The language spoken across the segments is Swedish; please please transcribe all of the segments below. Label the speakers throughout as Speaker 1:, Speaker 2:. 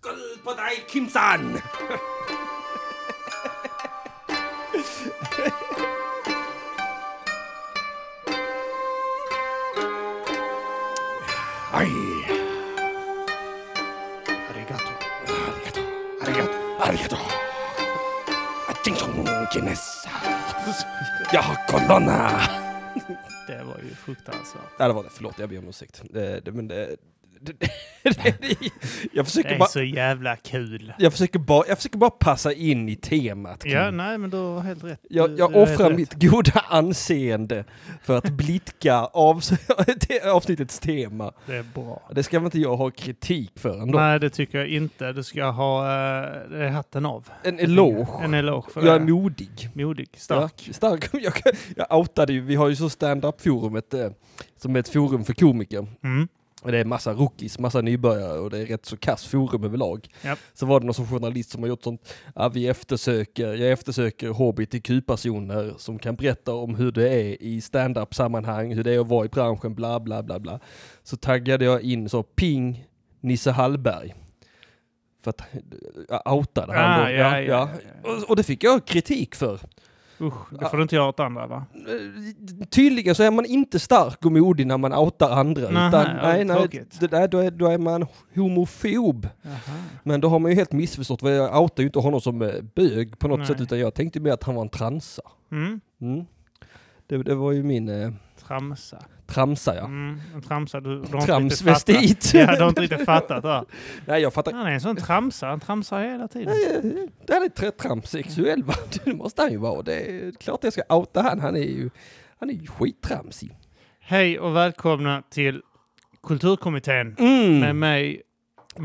Speaker 1: Sköld på dig, Kimsan! Aj!
Speaker 2: Arigato.
Speaker 1: Arigato.
Speaker 2: Arigato.
Speaker 1: Arigato. Ding dong, Guinness. Jag har corona.
Speaker 3: Det var ju fruktansvärt.
Speaker 1: Nej, det var det. Förlåt, jag ber om ursäkt. Det, det, men det, det, det, det, jag
Speaker 3: Det
Speaker 1: försöker
Speaker 3: är
Speaker 1: bara...
Speaker 3: så jävla kul.
Speaker 1: Jag försöker, bara, jag försöker bara passa in i temat. Kim.
Speaker 3: Ja, nej, men du har helt rätt.
Speaker 1: jag
Speaker 3: Du-
Speaker 1: jag
Speaker 3: du har helt
Speaker 1: offrar
Speaker 3: rätt.
Speaker 1: mitt goda anseende för att blidka av, avsnittets tema.
Speaker 3: Det är bra.
Speaker 1: Det ska väl inte jag ha kritik för ändå.
Speaker 3: Nej, det tycker jag inte. Du ska ha eh, det är hatten av.
Speaker 1: En eloge.
Speaker 3: En eloge för
Speaker 1: Jag är
Speaker 3: det.
Speaker 1: modig.
Speaker 3: modig, stark.
Speaker 1: Ja, stark. Jag, jag outade ju, vi har ju så stand-up-forumet eh, som är ett forum för komiker.
Speaker 3: Mm.
Speaker 1: Och det är massa rookies, massa nybörjare och det är rätt så kass forum överlag.
Speaker 3: Japp.
Speaker 1: Så var det någon som journalist som har gjort sånt, ja, vi eftersöker, jag eftersöker hbtq-personer som kan berätta om hur det är i stand-up sammanhang, hur det är att vara i branschen, bla bla bla bla. Så taggade jag in så, ping, Nisse Hallberg. För att jag outade han
Speaker 3: Ah,
Speaker 1: då.
Speaker 3: ja, ja,
Speaker 1: Och, och det fick jag kritik för.
Speaker 3: Usch, det får du inte göra åt andra va?
Speaker 1: Eh, Tydligen så är man inte stark och modig när man outar andra.
Speaker 3: Nähä,
Speaker 1: utan,
Speaker 3: ja,
Speaker 1: nej, nej,
Speaker 3: tråkigt.
Speaker 1: det där, då, är, då är man homofob.
Speaker 3: Jaha.
Speaker 1: Men då har man ju helt missförstått. vad Jag outar ju inte honom som eh, bög på något
Speaker 3: Nej.
Speaker 1: sätt utan jag tänkte mer att han var en transa.
Speaker 3: Mm.
Speaker 1: Mm. Det, det var ju min eh,
Speaker 3: Tramsa.
Speaker 1: tramsa ja.
Speaker 3: Mm. En tramsa, du, du har inte riktigt fattat.
Speaker 1: Tramsvestit.
Speaker 3: Ja, du har inte riktigt fattat det. här.
Speaker 1: nej jag fattar.
Speaker 3: Han är en sån tramsa, han tramsar hela tiden.
Speaker 1: Nej, Han är tr- tramsexuell va? Det måste han ju vara. Det är klart jag ska outa han. Han är ju, han är ju skittramsig.
Speaker 3: Hej och välkomna till Kulturkommittén
Speaker 1: Mm.
Speaker 3: med mig,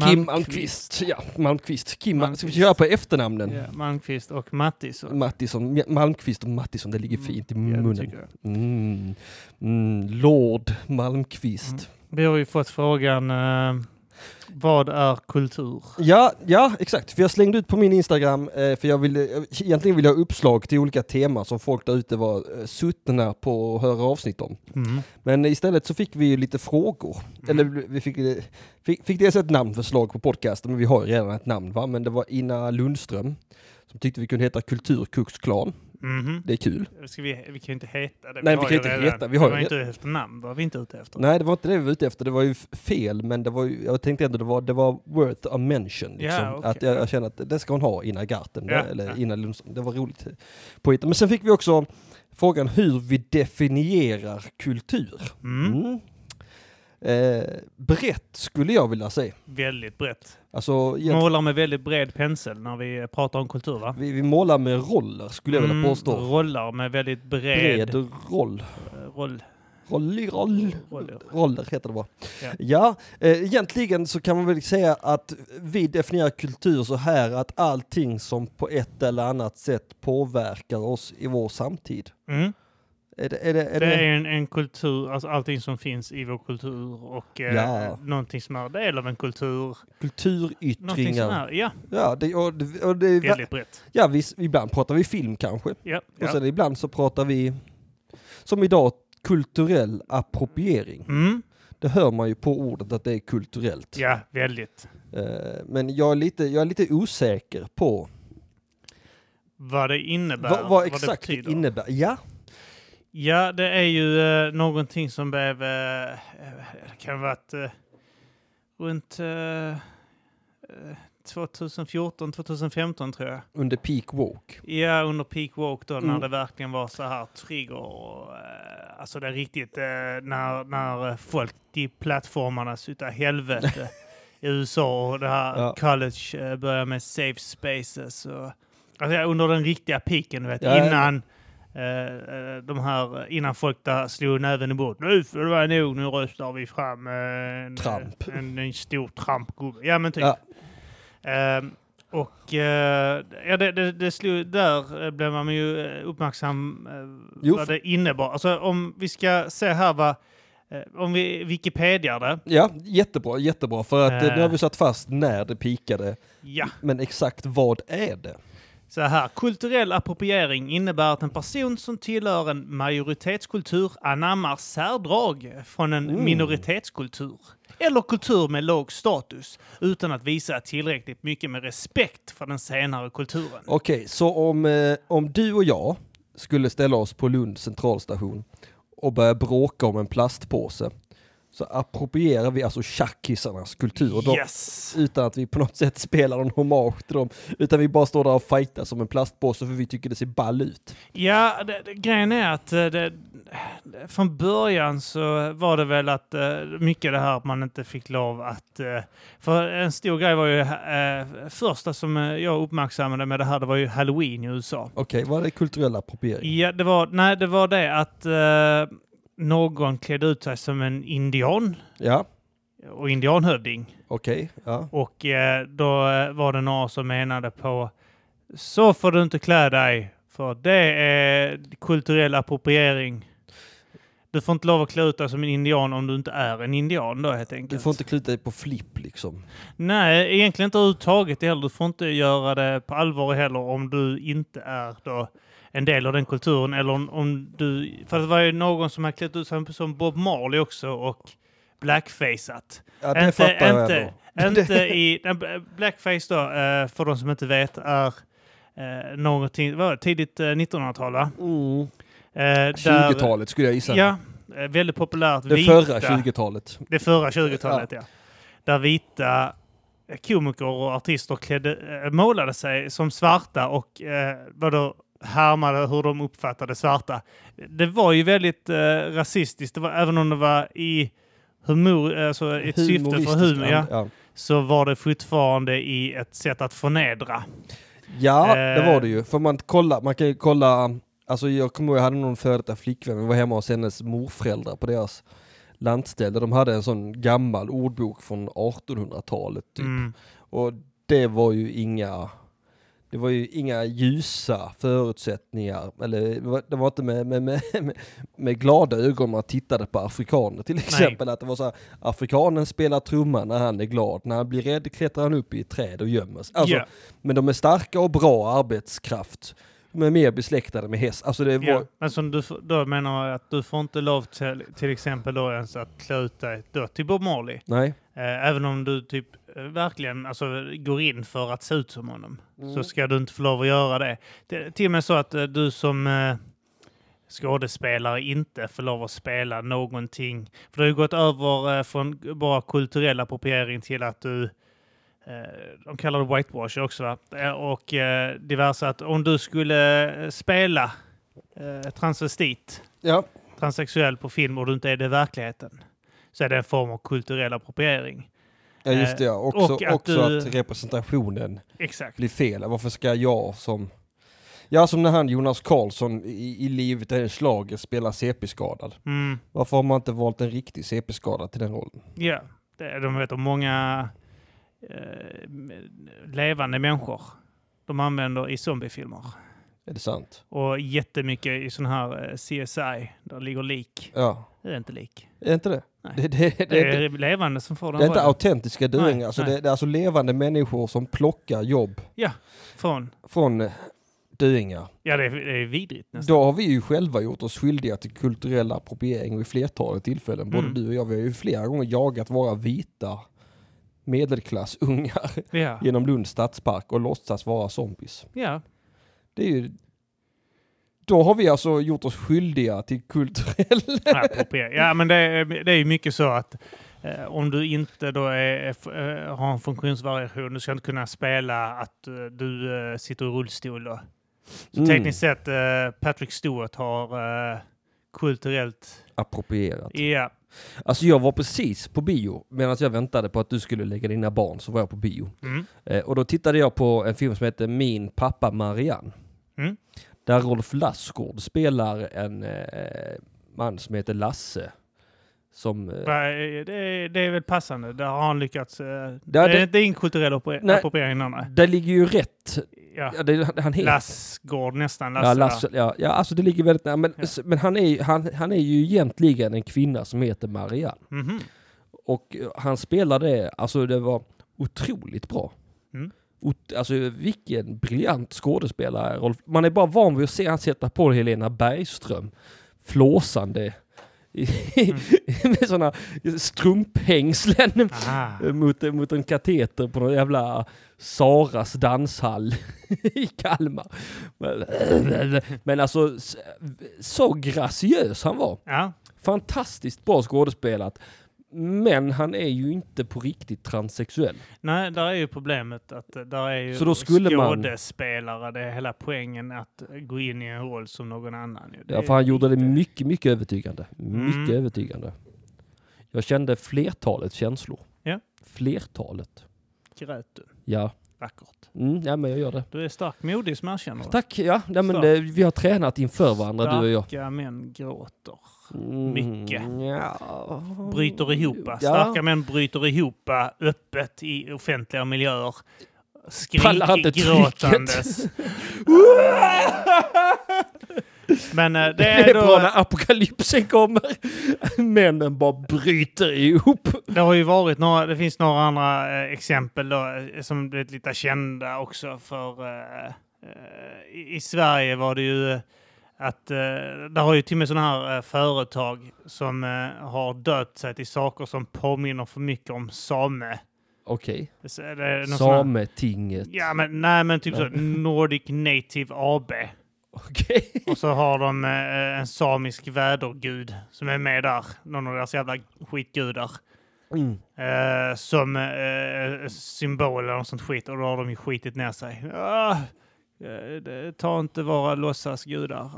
Speaker 1: Kim Malmqvist. Ja, Malmqvist. Kim, Ska vi
Speaker 3: Malmqvist.
Speaker 1: köra på efternamnen?
Speaker 3: Ja, Malmqvist och Mattisson.
Speaker 1: Mattisson, Ja, Malmqvist och Mattisson, Mm, det ligger
Speaker 3: Mm,
Speaker 1: fint i
Speaker 3: Ja, det
Speaker 1: munnen.
Speaker 3: tycker jag.
Speaker 1: Mm. Mm. Lord Malmqvist.
Speaker 3: Mm. Vi har ju fått frågan, eh, vad är kultur?
Speaker 1: Ja, ja, exakt. För jag slängde ut på min Instagram, eh, för jag ville, jag- egentligen ville jag ha uppslag till olika teman som folk där ute var eh, suttna på att höra avsnitt om.
Speaker 3: Mm.
Speaker 1: Men istället så fick vi ju lite frågor. Eller vi fick, eh, fick, fick dels ett namnförslag på podcasten, men vi har ju redan ett namn va? Men det var Ina Lundström som tyckte vi kunde heta Kulturkuksklan.
Speaker 3: Mhm.
Speaker 1: Det är kul.
Speaker 3: Ska vi, vi kan ju inte heta det.
Speaker 1: Nej, vi
Speaker 3: har
Speaker 1: kan
Speaker 3: ju
Speaker 1: inte
Speaker 3: redan-
Speaker 1: heta- vi har ju
Speaker 3: var
Speaker 1: re-
Speaker 3: inte ute efter namn, var vi inte ute efter.
Speaker 1: Nej, det var inte det vi var ute efter. Det var ju f- fel, men det var ju, jag tänkte ändå det var, det var worth a mention. Liksom.
Speaker 3: Ja, okej.
Speaker 1: att jag, jag känner att det ska hon ha innan Garten,
Speaker 3: Ja,
Speaker 1: eller
Speaker 3: ja.
Speaker 1: innan Lundström. Det var roligt påhitt. Men sen fick vi också frågan hur vi definierar kultur.
Speaker 3: Mm.
Speaker 1: Mm. Eh, brett skulle jag vilja säga.
Speaker 3: Väldigt brett.
Speaker 1: Alltså, egentligen-
Speaker 3: Målar med väldigt bred pensel när vi pratar om kultur, va?
Speaker 1: vi, vi målar med roller skulle jag vilja
Speaker 3: Mm,
Speaker 1: påstå.
Speaker 3: Rollar med väldigt bred...
Speaker 1: Bred roll.
Speaker 3: eh, Roll.
Speaker 1: Rollig roll.
Speaker 3: Roller.
Speaker 1: Roller heter det bara. Ja,
Speaker 3: Ja.
Speaker 1: eh, egentligen så kan man väl säga att vi definierar kultur så här att allting som på ett eller annat sätt påverkar oss i vår samtid.
Speaker 3: Mm.
Speaker 1: Är det, är det, är
Speaker 3: Det
Speaker 1: det,
Speaker 3: är en, en kultur, alltså allting som finns i vår kultur och eh,
Speaker 1: Ja.
Speaker 3: någonting som är del av en kultur. Någonting som
Speaker 1: kulturyttringar?
Speaker 3: är, ja,
Speaker 1: Ja, det, och, det- och det,
Speaker 3: väldigt brett.
Speaker 1: ja visst, ibland pratar vi film kanske.
Speaker 3: Ja,
Speaker 1: Och
Speaker 3: ja.
Speaker 1: sen ibland så pratar vi, som idag, kulturell appropriering.
Speaker 3: Mm.
Speaker 1: Det hör man ju på ordet att det är kulturellt.
Speaker 3: ja väldigt.
Speaker 1: Eh, Men jag är, lite, jag är lite osäker på
Speaker 3: Vad det innebär.
Speaker 1: vad, vad exakt det,
Speaker 3: betyder.
Speaker 1: innebär. Ja,
Speaker 3: Ja, det är ju eh, någonting som blev... Eh, eh, det kan vara att eh, runt eh, eh, 2014, 2015 tror jag.
Speaker 1: under peak woke.
Speaker 3: Ja, under peak walk då
Speaker 1: Mm.
Speaker 3: när det verkligen var så här trigger och... Eh, alltså det är riktigt eh, när, när eh, folk i plattformarna suttar helvete. I USA och det här
Speaker 1: Ja.
Speaker 3: college eh, börjar med safe spaces. Och, alltså ja, under den riktiga piken, du vet,
Speaker 1: Ja, ja.
Speaker 3: innan eh, eh, de här, innan folk där slog näven i bordet. Nu får det vara nog, nu röstar vi fram eh, en,
Speaker 1: Trump.
Speaker 3: en, en stor trampgubbe. Ja, men typ.
Speaker 1: Ja.
Speaker 3: Ehm, och eh, ja, det, det, det slog, där eh, blev man ju eh, uppmärksam eh,
Speaker 1: Jo,
Speaker 3: vad
Speaker 1: för-
Speaker 3: det innebar. Alltså om vi ska se här vad, eh, om vi Wikipedia det.
Speaker 1: Ja, jättebra, jättebra. För att eh,
Speaker 3: Eh.
Speaker 1: nu har vi satt fast när det pikade.
Speaker 3: Ja,
Speaker 1: Men exakt vad är det?
Speaker 3: Så här, kulturell appropriering innebär att en person som tillhör en majoritetskultur anammar särdrag från en minoritetskultur eller kultur med låg status utan att visa tillräckligt mycket med respekt för den senare kulturen.
Speaker 1: Okej, så om, eh, om du och jag skulle ställa oss på Lunds centralstation och börja bråka om en plastpåse så approprierar vi alltså tjackisarnas kultur och de,
Speaker 3: Yes!
Speaker 1: utan att vi på något sätt spelar någon hommage till dem, utan vi bara står där och fightas om en plastpåse för vi tycker det ser ball ut.
Speaker 3: Ja, det, det, grejen är att eh, det, det, från början så var det väl att eh, mycket det här att man inte fick lov att... eh, För en stor grej var ju eh, första som eh, jag uppmärksammade med det här, det var ju halloween i USA.
Speaker 1: Okej, vad är det kulturell appropriering?
Speaker 3: Ja, det var, nej, det var det att eh, någon klädde ut sig som en indian
Speaker 1: Ja,
Speaker 3: och indianhövding.
Speaker 1: okej, ja.
Speaker 3: Och eh, då eh, var det några som menade på så får du inte klä dig för det är kulturell appropriering. Du får inte lov att klä ut dig som en indian om du inte är en indian då helt
Speaker 1: Du
Speaker 3: enkelt.
Speaker 1: får inte kluta dig på flipp liksom.
Speaker 3: Nej, egentligen inte överhuvudtaget heller. Du får inte göra det på allvar heller om du inte är då en del av den kulturen eller om, om du... För det var ju någon som har klätt ut sig som Bob Marley också och blackfaceat.
Speaker 1: Ja, det fattar jag ändå.
Speaker 3: inte, inte i... nej, Blackface då, eh, för de som inte vet, är eh, någonting... Vad var det? Tidigt eh, 1900-tal, va?
Speaker 1: Mm.
Speaker 3: Eh, där-
Speaker 1: 20-talet skulle jag gissa.
Speaker 3: Ja, eh, väldigt populärt.
Speaker 1: det
Speaker 3: vita-
Speaker 1: förra 20-talet.
Speaker 3: det förra 20-talet, ja. Där vita eh, komiker och artister klädde, eh, målade sig som svarta och eh, vadå, härmade hur de uppfattade svarta. Det var ju väldigt eh, rasistiskt, det var, även om det var i humor, alltså ett syfte för humor, ja,
Speaker 1: ja.
Speaker 3: så var det fortfarande i ett sätt att förnedra.
Speaker 1: Ja,
Speaker 3: Eh.
Speaker 1: det var det ju. För man, kolla, man kan ju kolla, alltså jag kommer ihåg jag hade någon före detta flickvän, vi var hemma hos hennes morföräldrar på deras lantställe. De hade en sån gammal ordbok från 1800-talet typ.
Speaker 3: Mm.
Speaker 1: Och det var ju inga det var ju inga ljusa förutsättningar, eller det var- det var inte med, med, med, med- med glada ögon man tittade på afrikaner till exempel. Att det var så här, afrikanen spelar trumma när han är glad, när han blir rädd klättrar han upp i ett träd och gömmer sig. Alltså,
Speaker 3: Ja.
Speaker 1: Men de är starka och bra arbetskraft, de är mer besläktade med häst. Alltså det var,
Speaker 3: Ja, men som du, f- då menar jag att du får inte lov till, till exempel då ens att klä ut dig då till Bob Marley.
Speaker 1: nej,
Speaker 3: Eh, Även om du typ eh, verkligen alltså, går in för att se ut som honom så ska du inte få lov att göra det. det till och med så att eh, du som eh, skådespelare inte får lov att spela någonting. För det har ju gått över eh, från bara kulturell appropriering till att du eh, de kallar det whitewash också va? Eh, Och eh, diverse att om du skulle eh, spela eh, transvestit
Speaker 1: ja,
Speaker 3: transsexuell på film och du inte är det i verkligheten så är det en form av kulturell appropriering.
Speaker 1: ja just det ja. Också,
Speaker 3: Eh, och att
Speaker 1: också
Speaker 3: du-
Speaker 1: att representationen
Speaker 3: Exakt.
Speaker 1: blir fel. Varför ska jag som... Ja, som när han Jonas Karlsson i, i livet är en slager spelar CP-skadad.
Speaker 3: Mm,
Speaker 1: Varför har man inte valt en riktig CP-skadad till den rollen?
Speaker 3: ja. Det, de vet om många eh, levande människor de använder i zombiefilmer.
Speaker 1: Är det sant?
Speaker 3: Och jättemycket i sån här eh, CSI, där ligger lik.
Speaker 1: Ja.
Speaker 3: Det är inte lik.
Speaker 1: Är inte det?
Speaker 3: Nej. Eh,
Speaker 1: Det, det, det,
Speaker 3: Det
Speaker 1: är inte,
Speaker 3: är levande som får den
Speaker 1: det är inte
Speaker 3: rollen.
Speaker 1: autentiska
Speaker 3: Nej,
Speaker 1: döingar. Alltså
Speaker 3: nej.
Speaker 1: det, det är alltså levande människor som plockar jobb
Speaker 3: Från.
Speaker 1: från eh, döingar.
Speaker 3: Ja, det är, det är vidrigt nästan.
Speaker 1: Då har vi ju själva gjort oss skyldiga till kulturell appropriering vid flertalet tillfällen.
Speaker 3: Mm.
Speaker 1: Både du och jag, vi har ju flera gånger jagat våra vita medelklassungar
Speaker 3: Ja.
Speaker 1: genom Lunds stadspark och låtsas vara zombies.
Speaker 3: ja.
Speaker 1: Det är ju... Då har vi alltså gjort oss skyldiga till kulturell...
Speaker 3: appropriering. Ja, men det är, det är ju mycket så att eh, om du inte då är, f- eh, har en funktionsvariation, du ska inte kunna spela att eh, du eh, sitter i rullstol. Då. Så
Speaker 1: Mm.
Speaker 3: tekniskt sett, eh, Patrick Stewart har eh, kulturellt...
Speaker 1: Approprierat.
Speaker 3: Ja,
Speaker 1: Alltså jag var precis på bio medan jag väntade på att du skulle lägga dina barn så var jag på bio.
Speaker 3: mm,
Speaker 1: Eh, och då tittade jag på en film som heter Min pappa Marianne.
Speaker 3: Mm.
Speaker 1: Där Rolf Lassgård spelar en eh, man som heter Lasse. Som... Eh,
Speaker 3: Va, eh, det, är- det är väl passande. Där har han lyckats. Eh, det,
Speaker 1: Där
Speaker 3: är
Speaker 1: det-
Speaker 3: inte en kulturell appropri-
Speaker 1: Nej.
Speaker 3: appropriering. Nej.
Speaker 1: det ligger ju rätt.
Speaker 3: Ja.
Speaker 1: Ja, det, han heter...
Speaker 3: Lassgård nästan. Lasse,
Speaker 1: ja,
Speaker 3: ja,
Speaker 1: Lasse, ja, ja, alltså det ligger väldigt nära. Men,
Speaker 3: Ja.
Speaker 1: s- men han, är, ju- han, han är ju egentligen en kvinna som heter Marianne.
Speaker 3: Mhm.
Speaker 1: Och eh, han spelade, alltså det var otroligt bra.
Speaker 3: Mm.
Speaker 1: ot- Alltså vilken briljant skådespelare Rolf. Man är bara van vid att se han sätta på Helena Bergström flåsande i- med sådana strumphängslen
Speaker 3: Aha.
Speaker 1: mot, mot en kateter på någon jävla Saras danshall i Kalmar. Men, men alltså, s- så graciös han var.
Speaker 3: Ja,
Speaker 1: Fantastiskt bra skådespelat. Men han är ju inte på riktigt transsexuell.
Speaker 3: nej, där är ju problemet att eh, där är ju
Speaker 1: Så då skulle man-
Speaker 3: skådespelare, det är hela poängen att gå in i en roll som någon annan. ju. Det
Speaker 1: Ja,
Speaker 3: är
Speaker 1: för han
Speaker 3: ju
Speaker 1: gjorde det
Speaker 3: inte-
Speaker 1: mycket, mycket övertygande. Mycket
Speaker 3: Mm.
Speaker 1: övertygande. Jag kände flertalet känslor.
Speaker 3: Ja.
Speaker 1: Flertalet.
Speaker 3: Grät du?
Speaker 1: Ja.
Speaker 3: Vackert.
Speaker 1: Mm, ja, men jag gör det.
Speaker 3: Du är stark, modig som erkänner det.
Speaker 1: Tack, ja. ja men
Speaker 3: Så.
Speaker 1: det, vi har tränat inför varandra, du och jag.
Speaker 3: Starka män gråter.
Speaker 1: Mm,
Speaker 3: Mycket.
Speaker 1: Ja.
Speaker 3: Bryter ihop. eh, Starka män bryter ihop eh, öppet i offentliga miljöer.
Speaker 1: Pallar inte
Speaker 3: Skrikgråtandes. Men eh, det
Speaker 1: Det
Speaker 3: är
Speaker 1: är bra
Speaker 3: då...
Speaker 1: när apokalypsen kommer. Männen bara bryter ihop.
Speaker 3: Det har ju varit några, det finns några andra eh, exempel då, eh, som blivit lite kända också för eh, eh, i, i Sverige var det ju eh, att eh, det har ju till och med sådana här eh, företag som eh, har döpt sig till saker som påminner för mycket om same.
Speaker 1: Okej.
Speaker 3: Det, är- det är någon sån här-
Speaker 1: Sametinget.
Speaker 3: Ja men nej men typ så Nordic Native AB.
Speaker 1: Okej.
Speaker 3: Och så har de eh, en samisk vädergud som är med där. Någon av deras jävla skitgudar.
Speaker 1: Mm.
Speaker 3: Eh, som eh, symbol eller något sånt skit och då har de ju skitit ner sig. Ah, eh, det- ta inte våra låtsasgudar.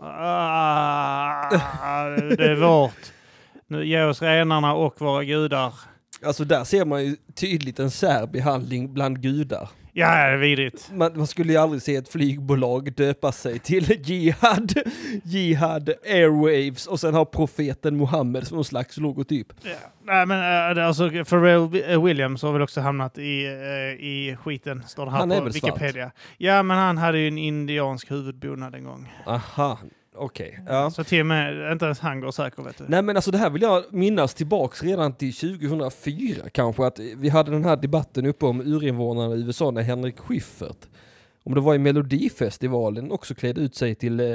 Speaker 3: Ah, det är vårt. Nu ge oss renarna och våra gudar.
Speaker 1: Alltså där ser man ju tydligt en särbehandling bland gudar.
Speaker 3: Ja, det är vidrigt.
Speaker 1: Man, man skulle ju aldrig se ett flygbolag döpa sig till Jihad, Jihad Airwaves och sen ha profeten Muhammed som någon slags logotyp.
Speaker 3: Ja. Nej, men eh, det är alltså Pharrell Wi- eh, Williams har väl också hamnat i, eh, i skiten, står det här
Speaker 1: Han är
Speaker 3: på
Speaker 1: väl svart?
Speaker 3: Wikipedia. Ja, men han hade ju en indiansk huvudbonad en gång.
Speaker 1: Aha, okej. Ja.
Speaker 3: Så till och med, inte ens han går säker vet du.
Speaker 1: Nej men alltså det här vill jag minnas tillbaks redan till 2004 kanske att vi hade den här debatten uppe om urinvånarna i USA när Henrik Schiffert om det var i Melodifestivalen också klädde ut sig till eh,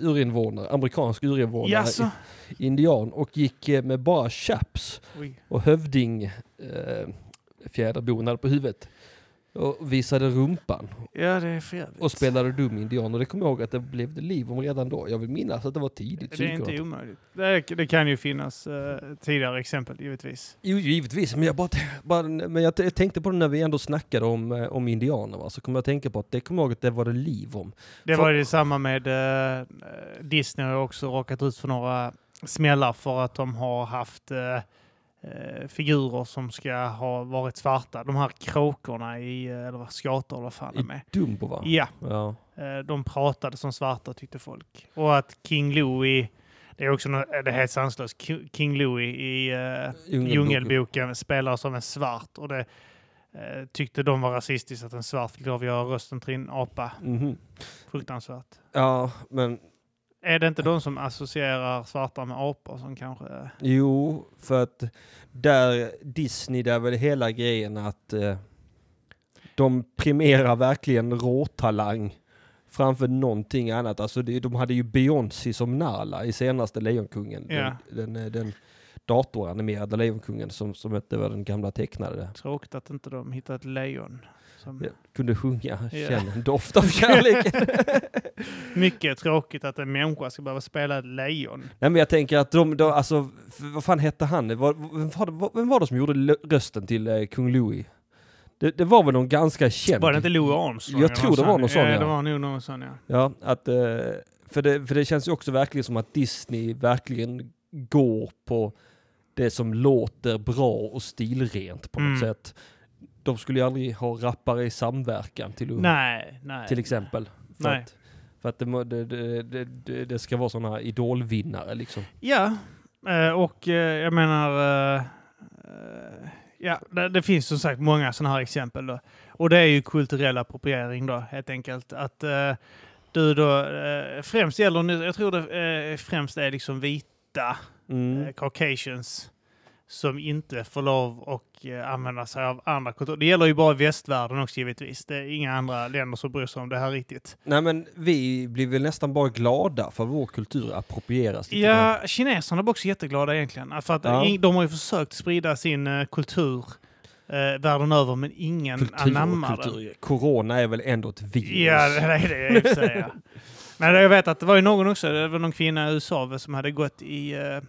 Speaker 1: urinvånare, amerikansk urinvånare,
Speaker 3: Jaså?
Speaker 1: i- indian och gick eh, med bara chaps
Speaker 3: Oj.
Speaker 1: och hövding eh, fjäderbonad på huvudet och visade rumpan
Speaker 3: Ja, det är för jävligt.
Speaker 1: och spelade dum indian och det kommer jag ihåg att det blev det liv om redan då. Jag vill minnas att det var tidigt
Speaker 3: Det är
Speaker 1: 2000-talet.
Speaker 3: inte omöjligt. Det, det kan ju finnas eh, tidigare exempel givetvis.
Speaker 1: Jo, givetvis, men jag, bara, bara, men jag t- tänkte på det när vi ändå snackade om, eh, om indianer, va? så kommer jag att tänka på att det kommer jag ihåg att det var det liv om.
Speaker 3: Det
Speaker 1: För-
Speaker 3: var ju detsamma med eh, Disney har ju också råkat ut för några smällar för att de har haft eh, eh, figurer som ska ha varit svarta. De här kråkorna i, eh, eller vad, skator eller vad fan
Speaker 1: I
Speaker 3: de är.
Speaker 1: Dumbo va?
Speaker 3: Ja,
Speaker 1: Ja.
Speaker 3: eh, de pratade som svarta tyckte folk. Och att King Louie, det är också nå- eh, det är helt sanslöst, Ki- King Louie i eh,
Speaker 1: Djungelboken.
Speaker 3: Djungelboken spelar som en svart och det eh, tyckte de var rasistiskt att en svart fick lov att göra rösten till en apa.
Speaker 1: Mhm.
Speaker 3: Fruktansvärt.
Speaker 1: Ja, men
Speaker 3: Är det inte de som associerar svarta med apor som kanske...
Speaker 1: jo, för att där Disney, där är väl hela grejen att eh, de primerar verkligen råtalang framför någonting annat. Alltså det, de hade ju Beyoncé som Nala i senaste Lejonkungen.
Speaker 3: Ja.
Speaker 1: Den, den, eh, den datoranimerade Lejonkungen som, som inte var den gamla tecknade. där.
Speaker 3: Tråkigt att inte de hittat ett lejon. Som,
Speaker 1: Ja, kunde sjunga
Speaker 3: Ja.
Speaker 1: Känn en doft av kärlek.
Speaker 3: Mycket tråkigt att en människa ska behöva spela ett lejon.
Speaker 1: Nej men jag tänker att de, de alltså, f- vad fan hette han? Det var, vem, var det, vem var det som gjorde lö- rösten till eh, Kung Louis? Det, det var väl någon ganska känd.
Speaker 3: Var det inte Louis Armstrong?
Speaker 1: Jag
Speaker 3: eller
Speaker 1: tror det var någon sån,
Speaker 3: Ja,
Speaker 1: ja.
Speaker 3: det var nog någon sån, ja.
Speaker 1: Ja, att, eh, för, det, för det känns ju också verkligen som att Disney verkligen går på det som låter bra och stilrent på något
Speaker 3: Mm.
Speaker 1: sätt. De skulle ju aldrig ha rappare i samverkan till,
Speaker 3: Nej, nej.
Speaker 1: Mm. till exempel. För
Speaker 3: Nej.
Speaker 1: att, för att det, må- det, det, det- det, det ska vara sådana idolvinnare liksom.
Speaker 3: Ja, eh, och eh, jag menar... eh, eh, Ja, det, det finns som sagt många sådana här exempel. Då. Och det är ju kulturell appropriering då, helt enkelt. Att eh, du då... eh, Främst gäller nu, jag tror det eh, främst är liksom vita,
Speaker 1: Mm.
Speaker 3: eh, caucasians, som inte får lov och eh, använda sig av andra kontor. Det gäller ju bara i västvärlden också givetvis. Det är inga andra länder som bryr sig om det här riktigt.
Speaker 1: Nej men vi blir väl nästan bara glada för vår kultur approprieras lite grann.
Speaker 3: Ja, kineserna var också jätteglada egentligen. För att
Speaker 1: Ja.
Speaker 3: ing- de har ju försökt sprida sin eh, kultur eh, världen över, men ingen
Speaker 1: Kultur
Speaker 3: anammar
Speaker 1: och
Speaker 3: den.
Speaker 1: kultur. Corona är väl ändå ett virus?
Speaker 3: Ja, det är det i och för sig. Ja. Men jag vet att det var ju någon också, det var någon kvinna i USA väl, som hade gått i eh,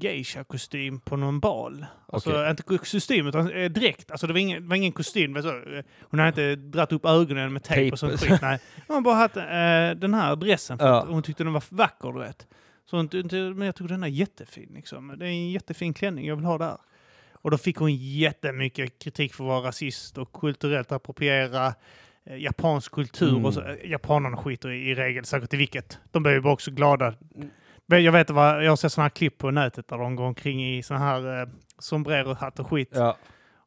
Speaker 3: geisha-kostym på någon bal. Alltså
Speaker 1: Okej.
Speaker 3: inte kostym, utan eh, dräkt. Alltså det var ingen, det var ingen kostym. det var Så, eh, hon hade inte dratt upp ögonen med tejp
Speaker 1: Tejp.
Speaker 3: och sånt skit. Nej. Hon hade bara haft eh, den här dressen för
Speaker 1: Ja.
Speaker 3: att hon tyckte den var vacker, du vet. Så hon, tyckte- men jag tycker den är jättefin. Liksom. Det är en jättefin klänning, jag vill ha det här. Och då fick hon jättemycket kritik för att vara rasist och kulturellt appropriera eh, japansk kultur.
Speaker 1: Mm.
Speaker 3: Och så, eh, japanerna skiter i, i regel säkert i vilket. De blir ju bara också glada. Men jag vet vad, jag har sett sådana här klipp på nätet där de går omkring i sådana här eh, sombrerohatt och skit.
Speaker 1: Ja.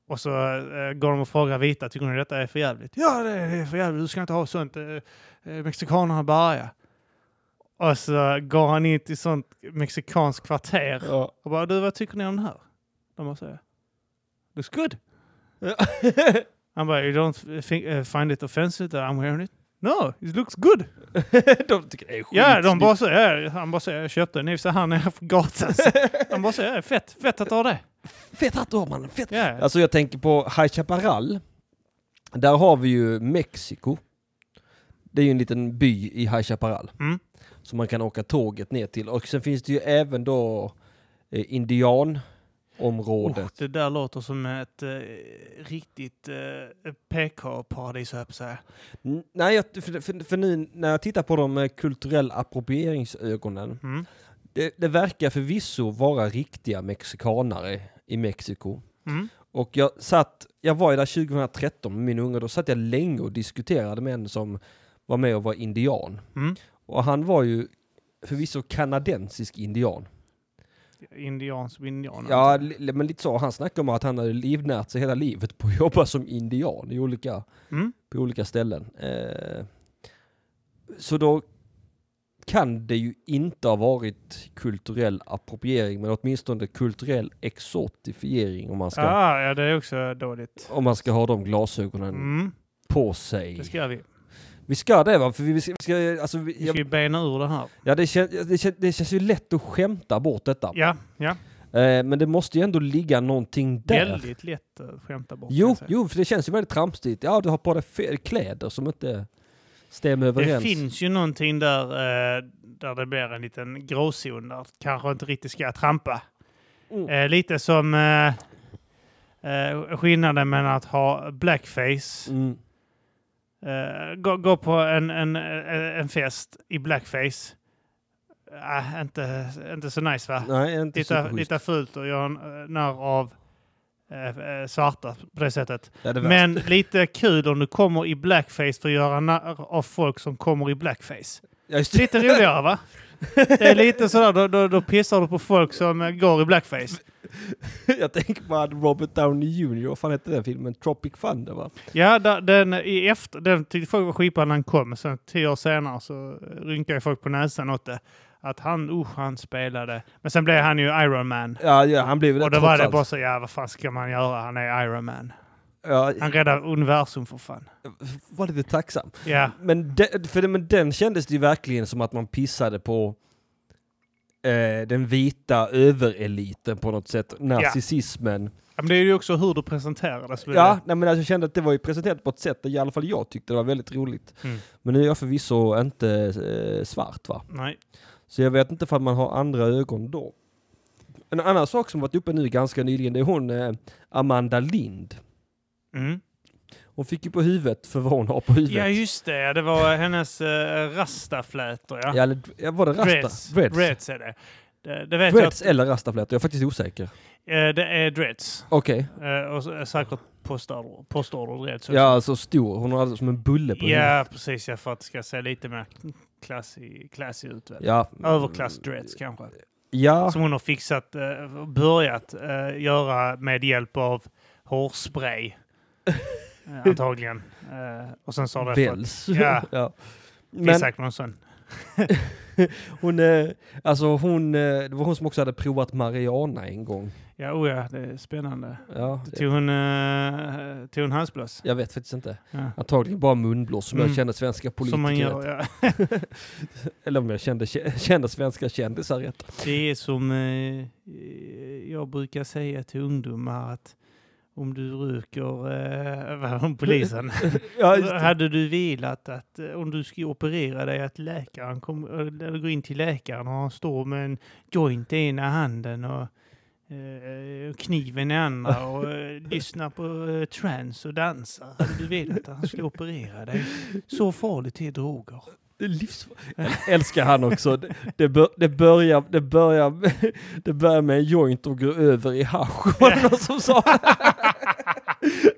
Speaker 3: Och så eh, går de och frågar vita, tycker ni detta är för jävligt? Ja, det är för jävligt. Du ska inte ha sånt. Eh, eh, mexikanerna bärgar. Och så går han in till sånt mexikanskt kvarter
Speaker 1: ja.
Speaker 3: och bara, du vad tycker ni om det här? De bara säger, looks good. Han bara, you don't think, eh, find it offensive that I'm wearing it? No, it looks good.
Speaker 1: de tycker det är skitsnyggt.
Speaker 3: Ja, de bara så, ja, han bara säger, jag köpte den i och för sig här nere på gatan. Så De bara säger, ja, fett, fett att ha det.
Speaker 1: Fett hatt du har mannen, fett!
Speaker 3: Ja,
Speaker 1: Alltså jag tänker på High Chaparral. Där har vi ju Mexiko. Det är ju en liten by i High Chaparral.
Speaker 3: Mm.
Speaker 1: Som man kan åka tåget ner till. Och sen finns det ju även då eh, indianområdet.
Speaker 3: oh, det där låter som ett eh, riktigt eh, PK-paradis, höll jag på att säga.
Speaker 1: N- Nej, jag, för, för, för nu när jag tittar på dem med kulturell approprieringsögonen.
Speaker 3: Mm.
Speaker 1: Det, det verkar förvisso vara riktiga mexikanare i Mexiko.
Speaker 3: Mm.
Speaker 1: Och jag satt, jag var ju där 2013 med min unge, då satt jag länge och diskuterade med en som var med och var indian.
Speaker 3: Mm.
Speaker 1: Och han var ju förvisso kanadensisk indian.
Speaker 3: Indian som indianer.
Speaker 1: Ja, li- men lite så. Han snackade om att han hade livnärt sig hela livet på att jobba som indian i olika,
Speaker 3: Mm.
Speaker 1: på olika ställen. Eh, så då kan det ju inte ha varit kulturell appropriering, men åtminstone kulturell exotifiering om man ska,
Speaker 3: Ah, ja, det är också dåligt.
Speaker 1: om man ska ha de glasögonen
Speaker 3: Mm.
Speaker 1: på sig.
Speaker 3: Det ska vi.
Speaker 1: Vi ska det va? För vi vi ska, vi ska, alltså, vi,
Speaker 3: Vi ska
Speaker 1: jag,
Speaker 3: ju bena ur det här.
Speaker 1: ja, det, kän, det, kän, det känns ju lätt att skämta bort detta.
Speaker 3: Ja, ja.
Speaker 1: Eh, men det måste ju ändå ligga någonting där.
Speaker 3: Väldigt lätt att skämta bort. kan
Speaker 1: Jo,
Speaker 3: jag säga.
Speaker 1: jo, för det känns ju väldigt tramsigt. Ja, du har på dig fel kläder som inte stämmer
Speaker 3: Det
Speaker 1: överens.
Speaker 3: finns ju någonting där, eh, där det blir en liten gråzon där kanske inte riktigt ska trampa.
Speaker 1: Mm.
Speaker 3: Eh, lite som eh, eh, skillnaden mellan att ha blackface,
Speaker 1: Mm.
Speaker 3: eh, gå, gå på en, en, eh, en fest i blackface. Äh, inte, inte så nice va?
Speaker 1: Nej, inte
Speaker 3: Lite,
Speaker 1: superschysst.
Speaker 3: lite fult och göra en, eh, narr av eh, eh, svarta på det sättet.
Speaker 1: Det är det värsta.
Speaker 3: Men lite kul om du kommer i blackface för att göra narr av folk som kommer i blackface.
Speaker 1: Ja, just det.
Speaker 3: Lite roligare va? Det är lite sådär, då, då, då pissar du på folk som eh, går i blackface.
Speaker 1: Jag tänker på att Robert Downey Jr. Vad fan hette den filmen? Tropic Thunder va?
Speaker 3: Ja, da- den, i efter, den tyckte folk var skitball när han kom. Sen tio år senare så eh, rynkade folk på näsan åt det. Att han, usch, han spelade. Men sen blev han ju Iron Man.
Speaker 1: Ja, ja han blev väl
Speaker 3: Och då
Speaker 1: trots
Speaker 3: var det
Speaker 1: allt.
Speaker 3: bara så, ja vad fan ska man göra? Han är Iron Man.
Speaker 1: Ja,
Speaker 3: Han räddar universum för fan.
Speaker 1: var lite tacksam.
Speaker 3: Ja,
Speaker 1: Men, de, för, det- men den kändes det ju verkligen som att man pissade på eh, den vita övereliten på något sätt. Narcissismen.
Speaker 3: Ja, men det är ju också hur du presenterar det. som är
Speaker 1: Ja, nej, men alltså, jag kände att det var ju presenterat på ett sätt där i alla fall jag tyckte det var väldigt roligt.
Speaker 3: Mm.
Speaker 1: Men nu är jag förvisso inte eh, svart va?
Speaker 3: det. Nej.
Speaker 1: Så jag vet inte om man har andra ögon då. En annan sak som varit uppe nu ganska nyligen, det är hon eh, Amanda Lind.
Speaker 3: Mm.
Speaker 1: Hon fick ju på huvudet för vad hon har på huvudet.
Speaker 3: Ja, just det. ja, Det var hennes eh, rastaflätor, ja.
Speaker 1: Ja, eller, ja, var det rasta?
Speaker 3: Dreads.
Speaker 1: Dreads.
Speaker 3: Dreads är det. Det, det vet
Speaker 1: Dreads
Speaker 3: jag. att-
Speaker 1: eller rastaflätor, jag är faktiskt osäker.
Speaker 3: eh, det är dreads.
Speaker 1: Okej.
Speaker 3: Eh, och så- eh, säkert postorder, postorder dreads. också.
Speaker 1: Ja, alltså stor. Hon har alltså som en bulle på huvudet.
Speaker 3: ja, precis. Ja, för att det ska se lite mer classy, classy ut. väl.
Speaker 1: Ja.
Speaker 3: Överklass dreads kanske.
Speaker 1: Ja.
Speaker 3: Som hon har fixat, eh, börjat eh, göra med hjälp av hårspray. Eh, antagligen. Eh, och sen så har det fått...
Speaker 1: Väls.
Speaker 3: Ja.
Speaker 1: ja.
Speaker 3: Men,
Speaker 1: Men,
Speaker 3: Isak någon sån.
Speaker 1: Hon, eh, alltså hon, eh, det var hon som också hade provat Mariana en gång.
Speaker 3: Ja, oh ja, det är spännande.
Speaker 1: Ja,
Speaker 3: Tog hon, eh, tog hon halsblås?
Speaker 1: jag vet faktiskt inte.
Speaker 3: Ja.
Speaker 1: Antagligen bara munblås som jag
Speaker 3: Mm.
Speaker 1: kände svenska politiker
Speaker 3: Som man
Speaker 1: rätt.
Speaker 3: gör, ja.
Speaker 1: Eller om jag kände, kände svenska kändisar rätt.
Speaker 3: Det är som eh, jag brukar säga till ungdomar att om du röker, eh, vad hon polisen,
Speaker 1: Ja, just det.
Speaker 3: hade du velat att eh, om du skulle operera dig att läkaren kom, eh, eller gå in till läkaren och han står med en joint i ena handen och eh, kniven i andra och eh, lyssnar på eh, trance och dansar. Hade du velat att han skulle operera dig? Så farligt är droger.
Speaker 1: Livs... Älskar han också. Det, det, bör, det, börjar, det, börjar, det börjar med en joint och går över i hasch. Var det någon som sa?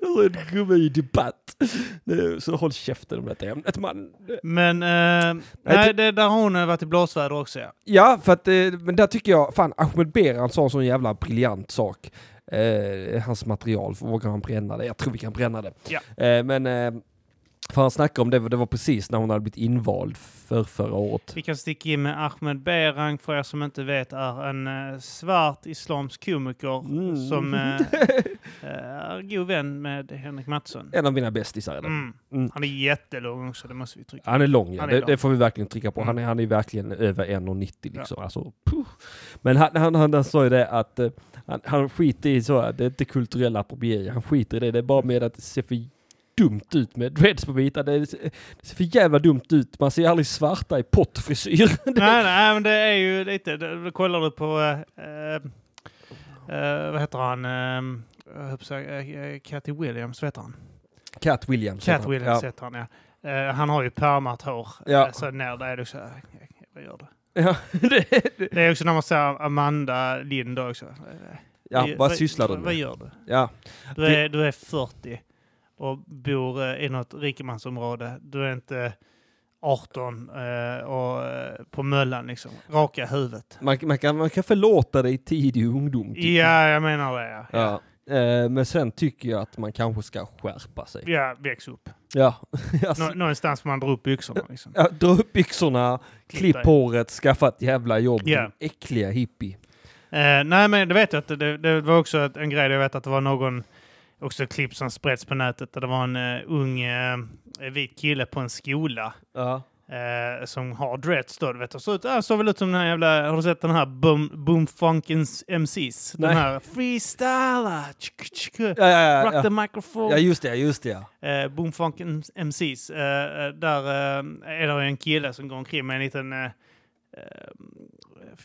Speaker 1: Det var en gubbe i debatt. Nu, Så håll käften om detta ämnet man.
Speaker 3: Men eh, nej, det, där har hon varit i blåsväder också. Ja.
Speaker 1: Ja, för att, eh, men där tycker jag, fan Ahmed Beran sa en sån jävla briljant sak. Eh, hans material, vågar han bränna det? Jag tror vi kan bränna det.
Speaker 3: Ja.
Speaker 1: Eh, men, eh, för han snackade om det, det var precis när hon hade blivit invald för förra året.
Speaker 3: Vi kan sticka in med Ahmed Berang för er som inte vet är en eh, svart islamsk komiker
Speaker 1: Mm.
Speaker 3: som eh, är god vän med Henrik Mattsson.
Speaker 1: En av mina bästisar är det.
Speaker 3: Mm.
Speaker 1: Mm.
Speaker 3: Han är jättelång också, det måste vi trycka
Speaker 1: Han är lång, ja.
Speaker 3: Han är
Speaker 1: det,
Speaker 3: lång.
Speaker 1: det får vi verkligen trycka på.
Speaker 3: Mm.
Speaker 1: Han, är, han är verkligen över 1,90 liksom. Alltså, puh. Men han, han, han, han sa ju det att eh, han, han skiter i så, här, det är inte kulturell appropriering, han skiter i det. Det är bara med att det ser för dumt ut med dreads på vita. Det, är- det ser för jävla dumt ut. Man ser aldrig svarta i pottfrisyr.
Speaker 3: Nej, nej, men det är ju lite... det- Då kollar du på... eh, eh, vad heter han? Uh, jag höll på att säga, eh, Cathy Williams, vad heter han?
Speaker 1: Cat Williams. heter
Speaker 3: Cat
Speaker 1: han.
Speaker 3: Williams
Speaker 1: Ja.
Speaker 3: heter han, ja. Eh, han har ju pärmat hår.
Speaker 1: Ja.
Speaker 3: Eh, så när det är det så här... eh, Vad gör du?
Speaker 1: Ja, det- det-
Speaker 3: Det är också när man säger Amanda Lind också. Eh,
Speaker 1: ja, vad sysslar du
Speaker 3: vad, vad
Speaker 1: med?
Speaker 3: gör du?
Speaker 1: Ja.
Speaker 3: Du är, du är 40 och bor eh, i något rikemansområde. Du är inte 18 eh, och eh, på möllan liksom. Raka huvudet.
Speaker 1: Man, man, kan, man kan förlåta dig tidig ungdom. tycker jag.
Speaker 3: Ja, jag menar det. Ja, ja.
Speaker 1: Ja. Eh, Men sen tycker jag att man kanske ska skärpa sig.
Speaker 3: ja väx upp.
Speaker 1: Ja, alltså,
Speaker 3: Nå- någonstans får man dra upp byxorna. Liksom.
Speaker 1: ja, dra upp byxorna, klipp
Speaker 3: dig.
Speaker 1: håret, skaffa ett jävla jobb.
Speaker 3: Ja.
Speaker 1: din Äckliga hippie.
Speaker 3: Eh, nej, men det vet jag att det, det var också ett- en grej. Jag vet att det var någon, också ett klipp som spreds på nätet, där det var en eh, ung eh, vit kille på en skola
Speaker 1: Ja.
Speaker 3: eh, som har dreads då, du vet. Och så ut, ah, såg väl ut som den här jävla, har du sett den här Boom, boom Funkins MCs?
Speaker 1: Nej.
Speaker 3: Den här freestyla, tsk, tsk, tsk,
Speaker 1: Ja, ja,
Speaker 3: rock
Speaker 1: ja,
Speaker 3: the
Speaker 1: ja.
Speaker 3: microphone.
Speaker 1: ja, just det, just det. ja.
Speaker 3: eh, boom Funkin MCs. Eh, eh, där eh, är det en kille som går omkring med en liten eh, eh,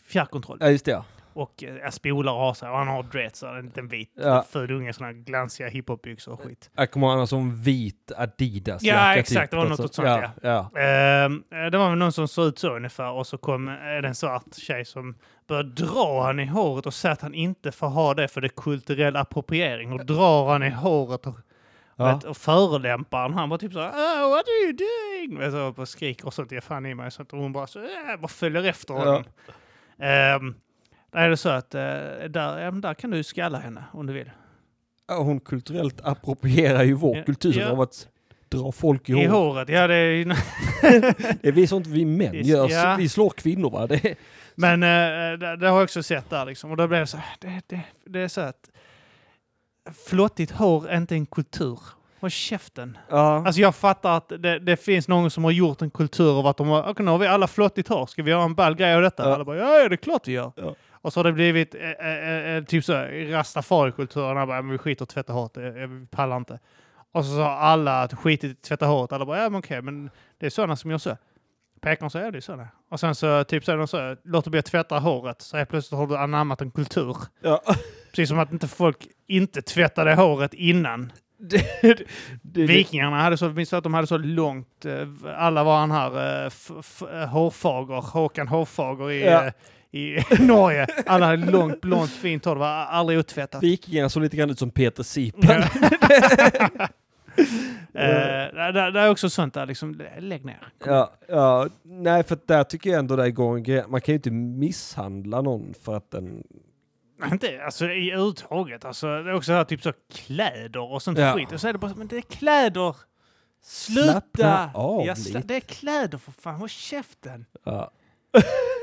Speaker 3: fjärrkontroll
Speaker 1: Ja, just det. ja.
Speaker 3: och eh, spolar av sig och han har dreads och en liten vit
Speaker 1: Ja.
Speaker 3: ful unge, sådana här glansiga hiphopbyxor och skit.
Speaker 1: Jag kommer ihåg han som vit Adidas
Speaker 3: Ja,
Speaker 1: jacka,
Speaker 3: exakt, det var något åt sånt,
Speaker 1: ja. ja.
Speaker 3: Ehm, det var väl någon som såg ut så ungefär och så kom eh, det en svart tjej som började dra han i håret och säga att han inte får ha det för det är kulturell appropriering och drar han i håret och,
Speaker 1: Ja.
Speaker 3: vet, och förolämpar han. Han var typ så här oh, “What are you doing?” vet, och bara skriker och sånt, ger fan i mig och sånt och hon bara så äh, bara följer efter honom. Ehm, där är det så att eh, där, ja, men där kan du ju skalla henne om du vill.
Speaker 1: Ja, Hon kulturellt approprierar ju vår
Speaker 3: Ja,
Speaker 1: kultur
Speaker 3: ja.
Speaker 1: av att dra folk i
Speaker 3: I
Speaker 1: håret.
Speaker 3: håret, ja det är ju
Speaker 1: Det är sånt vi män
Speaker 3: Is-
Speaker 1: gör.
Speaker 3: ja.
Speaker 1: Vi slår kvinnor va? Det är...
Speaker 3: Men eh, det, det har jag också sett där liksom. Och då blev det så här, det, det, det är så att flottigt hår är inte en kultur. Håll käften.
Speaker 1: ja.
Speaker 3: Alltså jag fattar att det, det finns någon som har gjort en kultur av att de har, okej nu har vi alla flottigt hår, ska vi göra en ball grej av detta?
Speaker 1: Ja.
Speaker 3: Alla bara, ja, ja det är klart vi gör.
Speaker 1: Ja.
Speaker 3: Och så har det blivit eh, eh, eh, typ så här, rastafarikulturen, alla bara, men vi skiter i att tvätta håret, eh, eh, vi pallar inte. Och så sa alla att skit i att tvätta håret, alla bara, ja men okej, men det är sådana som gör så. Pekaren säger, ja det är sådana. Och sen så typ så, så låter bli att tvätta håret, så helt plötsligt har du anammat en kultur.
Speaker 1: Ja.
Speaker 3: Precis som att inte folk inte tvättade håret innan.
Speaker 1: Det, det, det,
Speaker 3: Vikingarna hade så, minns du att de hade så långt, eh, alla var han här, eh, f- f- eh, Hårfager, Håkan Hårfager i,
Speaker 1: Ja.
Speaker 3: eh, i Norge. Alla hade långt, blont, fint hår, det var aldrig otvättat.
Speaker 1: Vikingarna såg lite grann ut som Peter Sipen.
Speaker 3: Ja. Eh, det, det är också sånt där, liksom, lägg ner.
Speaker 1: Ja, ja, nej för att där tycker jag ändå det går en grej. Man kan ju inte misshandla någon för att den...
Speaker 3: Inte, alltså i uttaget, alltså, det är också här, typ så kläder och sånt
Speaker 1: Ja.
Speaker 3: skit. Och så är det bara, så, men det är kläder! Sluta!
Speaker 1: Slappna av
Speaker 3: Jag sla-
Speaker 1: lite.
Speaker 3: det är kläder för fan, håll käften!
Speaker 1: Ja.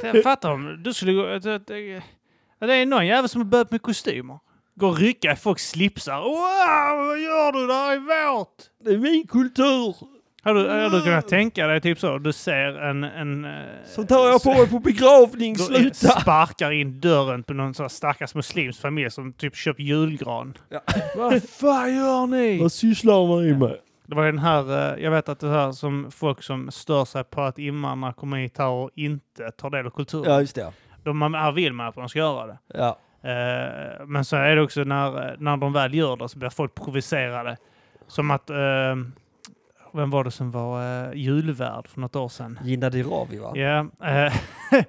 Speaker 3: Jag fattar om du skulle gå... att- att- att Det är någon jävel som har börjat med kostymer. Gå och rycka i folks slipsar. Wow, vad gör du? Det här är vårt!
Speaker 1: Det är min kultur!
Speaker 3: Har du, har du kunnat tänka dig typ så? Du ser en... en eh,
Speaker 1: Sånt här har jag på mig på begravning,
Speaker 3: Då
Speaker 1: sluta!
Speaker 3: sparkar in dörren på någon sån här stackars muslims familj som typ köpt julgran.
Speaker 1: Ja.
Speaker 3: Vad fan gör ni?
Speaker 1: Vad sysslar man ju med?
Speaker 3: Det var ju den här, eh, jag vet att det här som folk som stör sig på att invandrare kommer hit här och inte tar del av kulturen.
Speaker 1: Ja, just det.
Speaker 3: De här vill man att de ska göra det.
Speaker 1: Ja.
Speaker 3: Eh, Men så är det också när, eh, när de väl gör det så blir folk provocerade. Som att, eh, vem var det som var eh, julvärd för något år sedan?
Speaker 1: Gina Dirawi va?
Speaker 3: Ja. eh,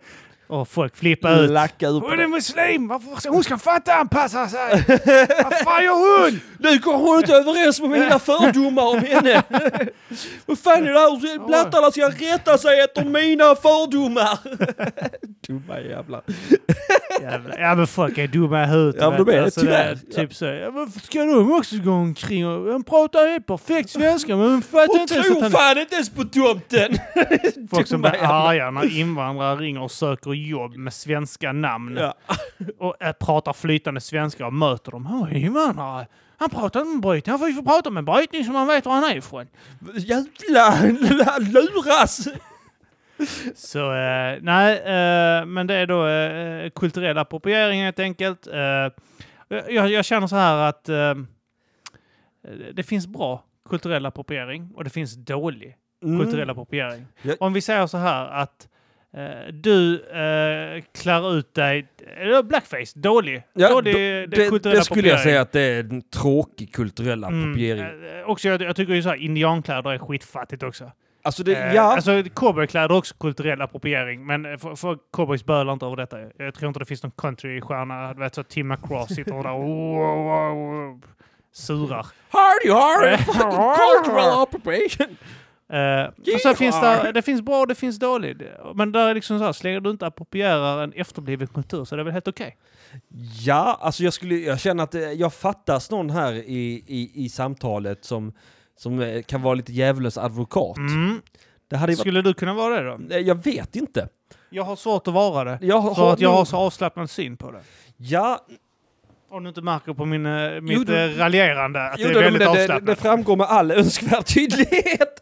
Speaker 3: och folk flippar ut.
Speaker 1: Lacka ut
Speaker 3: Hon är muslim! Varför? Hon ska fatta anpassa sig! Vad fan gör hon?
Speaker 1: Nu kommer hon inte överens med mina fördomar om henne! Vad fan är det här? Blattarna ska rätta sig efter mina fördomar! Dumma jävlar.
Speaker 3: Jävlar. Ja men folk är dumma i huvudet.
Speaker 1: Ja, men
Speaker 3: vet
Speaker 1: de är
Speaker 3: du.
Speaker 1: det, tyvärr.
Speaker 3: det är typ så. Ja, varför ska de också gå omkring och... Hon pratar ju perfekt svenska men hon fattar
Speaker 1: Hon
Speaker 3: inte ens att
Speaker 1: tror
Speaker 3: han...
Speaker 1: fan inte ens på tomten!
Speaker 3: Folk som
Speaker 1: dumma
Speaker 3: blir
Speaker 1: jävlar.
Speaker 3: arga när invandrare ringer och söker jobb med svenska namn
Speaker 1: Ja.
Speaker 3: och äh, pratar flytande svenska och möter dem. Han är invandrare. Han pratar inte med brytning. Han får ju prata med brytning så man vet var han är ifrån.
Speaker 1: Jävlar, han luras!
Speaker 3: Så eh, nej, eh, men det är då eh, kulturell appropriering helt enkelt. Eh, jag, jag känner så här att eh, det finns bra kulturell appropriering och det finns dålig kulturell appropriering.
Speaker 1: Mm. Ja.
Speaker 3: Om vi säger så här att eh, du eh, klär ut dig, eller blackface, dålig,
Speaker 1: Ja,
Speaker 3: dålig
Speaker 1: då-
Speaker 3: eh,
Speaker 1: Det,
Speaker 3: kulturell
Speaker 1: det skulle jag
Speaker 3: appropriering.
Speaker 1: säga att det är en tråkig kulturell appropriering.
Speaker 3: Mm, eh, också, jag, jag tycker ju så här, indiankläder är skitfattigt också.
Speaker 1: Alltså det,
Speaker 3: Eh,
Speaker 1: ja.
Speaker 3: Alltså cowboykläder är också kulturell appropriering, men eh, för, för cowboys bölar inte över detta. Jag tror inte det finns någon countrystjärna, du vet så Tim McGraw sitter där och wow, wow, wow, surar.
Speaker 1: Hardy, hardy! fucking
Speaker 3: Ah.
Speaker 1: Cultural appropriation!
Speaker 3: Eh, och sen finns det, det finns bra och det finns dåligt. Men där är liksom så här, så länge du inte approprierar en efterbliven kultur så är det väl helt okej.
Speaker 1: Ja, alltså jag, skulle, jag känner att eh, jag fattas någon här i, i, i samtalet som, som eh, kan vara lite djävulens advokat.
Speaker 3: Mm.
Speaker 1: Det hade ju varit,
Speaker 3: Skulle du kunna vara det då?
Speaker 1: Eh, jag vet inte.
Speaker 3: Jag har svårt att vara det.
Speaker 1: Jag har,
Speaker 3: För att jag har så avslappnad syn på det.
Speaker 1: Ja,
Speaker 3: Om du inte märker på min, eh, mitt
Speaker 1: du-
Speaker 3: eh, raljerande att
Speaker 1: jo,
Speaker 3: det
Speaker 1: det,
Speaker 3: är
Speaker 1: det,
Speaker 3: väldigt
Speaker 1: det,
Speaker 3: avslappnat.
Speaker 1: det framgår med all önskvärd tydlighet.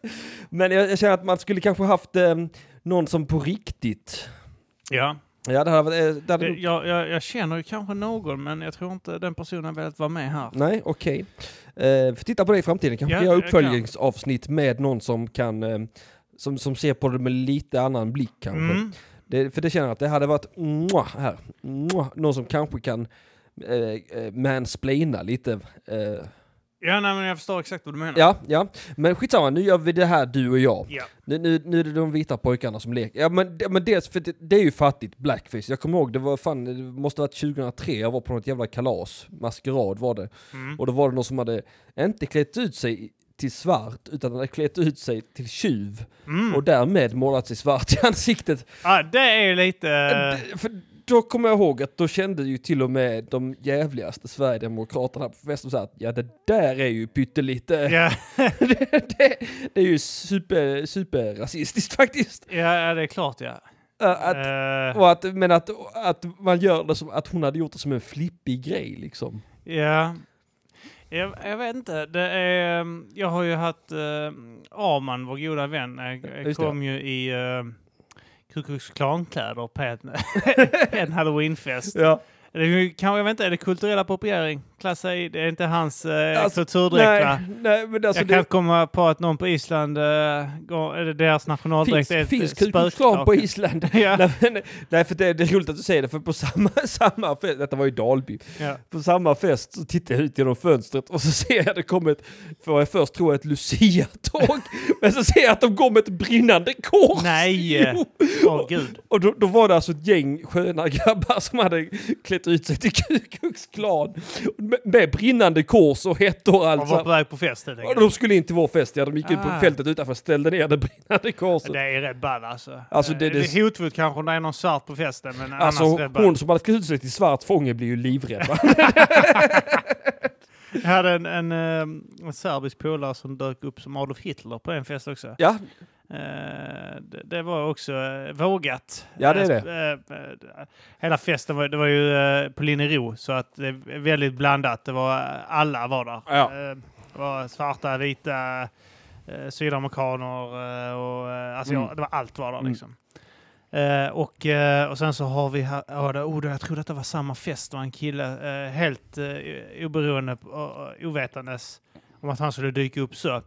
Speaker 1: Men jag, jag känner att man skulle kanske haft eh, någon som på riktigt...
Speaker 3: ja.
Speaker 1: Ja, det hade, varit, eh, det hade,
Speaker 3: Det, jag, jag, jag känner ju kanske någon, men jag tror inte den personen har velat vara med här.
Speaker 1: Nej, okej. Eh, får titta på det i framtiden. Kanske
Speaker 3: Ja, eh,
Speaker 1: kan göra
Speaker 3: jag kan.
Speaker 1: uppföljningsavsnitt med någon som kan... Eh, som, som ser på det med lite annan blick kanske.
Speaker 3: Mm.
Speaker 1: Det, för det känner jag att det hade varit mwah, här. Mwah, någon som kanske kan eh, eh, mansplaina lite. Eh,
Speaker 3: Ja, nej, men jag förstår exakt vad du menar.
Speaker 1: ja, ja. Men skitsamma, nu gör vi det här du och jag.
Speaker 3: Ja.
Speaker 1: Nu, nu, nu är det de vita pojkarna som leker. Ja, men, det- men dels, för det, det är ju fattigt, blackface. Jag kommer ihåg, det var fan, det måste ha varit 2003, jag var på något jävla kalas. Maskerad var det.
Speaker 3: Mm.
Speaker 1: Och då var det någon som hade inte klätt ut sig till svart, utan hade klätt ut sig till tjuv.
Speaker 3: Mm.
Speaker 1: Och därmed målat sig svart i ansiktet.
Speaker 3: Ah, det är lite...
Speaker 1: D- För då kommer jag ihåg att då kände ju till och med de jävligaste Sverigedemokraterna på festen så här att ja det där är ju pyttelite,
Speaker 3: Ja,
Speaker 1: det, det, det är ju super, super rasistiskt faktiskt.
Speaker 3: ja, det är klart ja.
Speaker 1: Äh, Att,
Speaker 3: Eh,
Speaker 1: och att, men att, att man gör det som att hon hade gjort det som en flippig grej liksom.
Speaker 3: ja. Jag, jag vet inte. Det är, ehm, jag har ju haft... Uh, Arman, vår goda vän, eh,
Speaker 1: just det.
Speaker 3: kom ju i uh, Ku Klux Klan-kläder på en, en halloweenfest.
Speaker 1: Ja.
Speaker 3: Det är ju, kan, jag vet inte, är det kulturell appropriering? Klass A, det är inte hans uh,
Speaker 1: Alltså,
Speaker 3: kulturdräkt va?
Speaker 1: Nej, nej, men alltså
Speaker 3: jag
Speaker 1: det,
Speaker 3: kan komma på att någon på Island, eh, går, eller deras nationaldräkt
Speaker 1: finns,
Speaker 3: är
Speaker 1: finns
Speaker 3: ett
Speaker 1: Ku Klux Klan på
Speaker 3: spökdrake.
Speaker 1: Island?
Speaker 3: ja,
Speaker 1: Nej, men, nej för det, det är roligt att du säger det, för på samma, samma fest, detta var i Dalby,
Speaker 3: ja.
Speaker 1: på samma fest så tittar jag ut genom fönstret och så ser jag det kommer ett, för jag först tror jag ett Lucia-tåg, men så ser jag att de går med ett brinnande kors!
Speaker 3: Nej!
Speaker 1: Jo.
Speaker 3: Åh gud.
Speaker 1: Och då, då var det alltså ett gäng sköna grabbar som hade klätt ut sig till Ku Klux Klan med, med brinnande kors och hettor och
Speaker 3: Och
Speaker 1: allt. så
Speaker 3: var
Speaker 1: här.
Speaker 3: på väg på fest helt
Speaker 1: Och
Speaker 3: enkelt.
Speaker 1: de skulle in till vår fest, ja, de gick ut på
Speaker 3: Ah.
Speaker 1: fältet utanför och ställde ner det brinnande korset.
Speaker 3: Det är rätt ball alltså.
Speaker 1: Alltså,
Speaker 3: Eh,
Speaker 1: det- det-
Speaker 3: är hotfullt kanske när det är någon svart på festen, men
Speaker 1: Alltså
Speaker 3: annars rätt ball.
Speaker 1: hon som hade klätt ut sig till svart fånge blir ju livrädd va?
Speaker 3: Jag hade en, en, eh, en serbisk polare som dök upp som Adolf Hitler på en fest också.
Speaker 1: Ja,
Speaker 3: Eh, det, det var också eh, vågat.
Speaker 1: Ja, det är
Speaker 3: Eh, eh, hela festen var, det var ju eh, på Linnero så att det är väldigt blandat. Det var, alla var där.
Speaker 1: Ja.
Speaker 3: Eh, det var svarta, vita, eh, sydamerikaner eh, och eh, alltså,
Speaker 1: Mm.
Speaker 3: det var allt var där
Speaker 1: Mm.
Speaker 3: liksom. Eh, och, eh, och sen så har vi här, ja, det, oh, det- jag tror att det var samma fest, det var en kille eh, helt eh, oberoende och uh, ovetandes om att han skulle dyka upp så.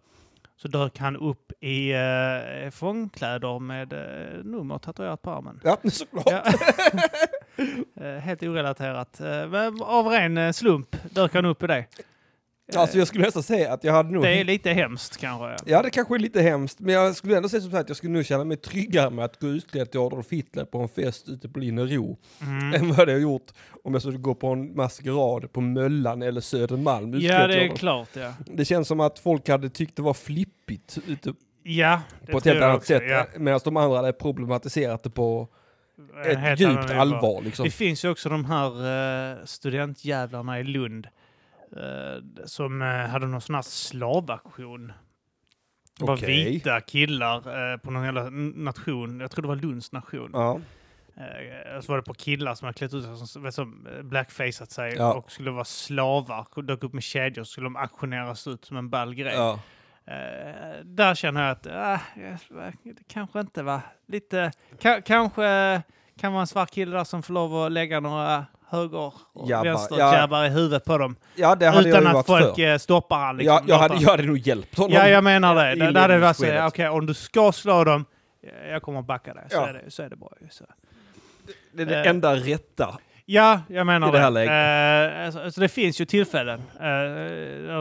Speaker 3: Så dök han upp i eh, fångkläder med eh, nummer tatuerat på armen.
Speaker 1: ja såklart.
Speaker 3: Ja. Eh, helt orelaterat. Eh, men av ren eh, slump dök han upp i det. Eh,
Speaker 1: Alltså jag skulle nästan säga att jag hade nog...
Speaker 3: det är lite hemskt kanske.
Speaker 1: Ja, det kanske är lite hemskt, men jag skulle ändå säga som sagt, jag skulle nog känna mig tryggare med att gå utklädd till Adolf Hitler på en fest ute på Linnero
Speaker 3: Mm.
Speaker 1: än vad jag hade gjort om jag skulle gå på en maskerad på Möllan eller Södermalm utklädd
Speaker 3: Ja,
Speaker 1: till
Speaker 3: det är
Speaker 1: Adolf.
Speaker 3: klart. Ja,
Speaker 1: det känns som att folk hade tyckt det var flippigt ute
Speaker 3: ja det
Speaker 1: på ett
Speaker 3: tror
Speaker 1: helt
Speaker 3: jag
Speaker 1: annat
Speaker 3: också,
Speaker 1: sätt,
Speaker 3: ja.
Speaker 1: medan de andra hade problematiserat det på
Speaker 3: En
Speaker 1: ett
Speaker 3: Eh, helt annan
Speaker 1: djupt
Speaker 3: nivå.
Speaker 1: allvar. Liksom.
Speaker 3: Det finns ju också de här eh, studentjävlarna i Lund eh, som eh, hade någon sån här slavaktion. Det var
Speaker 1: Okej.
Speaker 3: vita killar eh, på någon jävla n- nation. Jag tror det var Lunds nation.
Speaker 1: Ja.
Speaker 3: Eh, och så var det på killar som hade klätt ut sig som, som, som eh, blackfaceat sig
Speaker 1: Ja.
Speaker 3: och skulle vara slavar. Och dök upp med kedjor och skulle de auktioneras ut som en ball grej.
Speaker 1: Ja.
Speaker 3: Eh, där känner jag att ah, eh, det kanske inte var lite... Ka- kanske kan vara en svart kille där som får lov att lägga några höger och
Speaker 1: Jabbar, ja.
Speaker 3: vänsterjabbar i huvudet på dem.
Speaker 1: ja, det hade
Speaker 3: Utan
Speaker 1: jag ju
Speaker 3: att
Speaker 1: varit
Speaker 3: folk
Speaker 1: för.
Speaker 3: eh, stoppar han. Liksom,
Speaker 1: jag, jag, hade,
Speaker 3: Låter-
Speaker 1: jag hade nog hjälpt honom.
Speaker 3: ja, jag menar det.
Speaker 1: i
Speaker 3: Det, det hade varit så,
Speaker 1: inledningsskedet.
Speaker 3: ja, okej, om du ska slå dem, eh, jag kommer att backa dig. Så,
Speaker 1: Ja.
Speaker 3: är, det, så är det bra. ju, Så.
Speaker 1: Det är det
Speaker 3: eh,
Speaker 1: enda rätta.
Speaker 3: Ja, jag menar
Speaker 1: I det här läget.
Speaker 3: Eh, alltså, alltså, det finns ju tillfällen eh,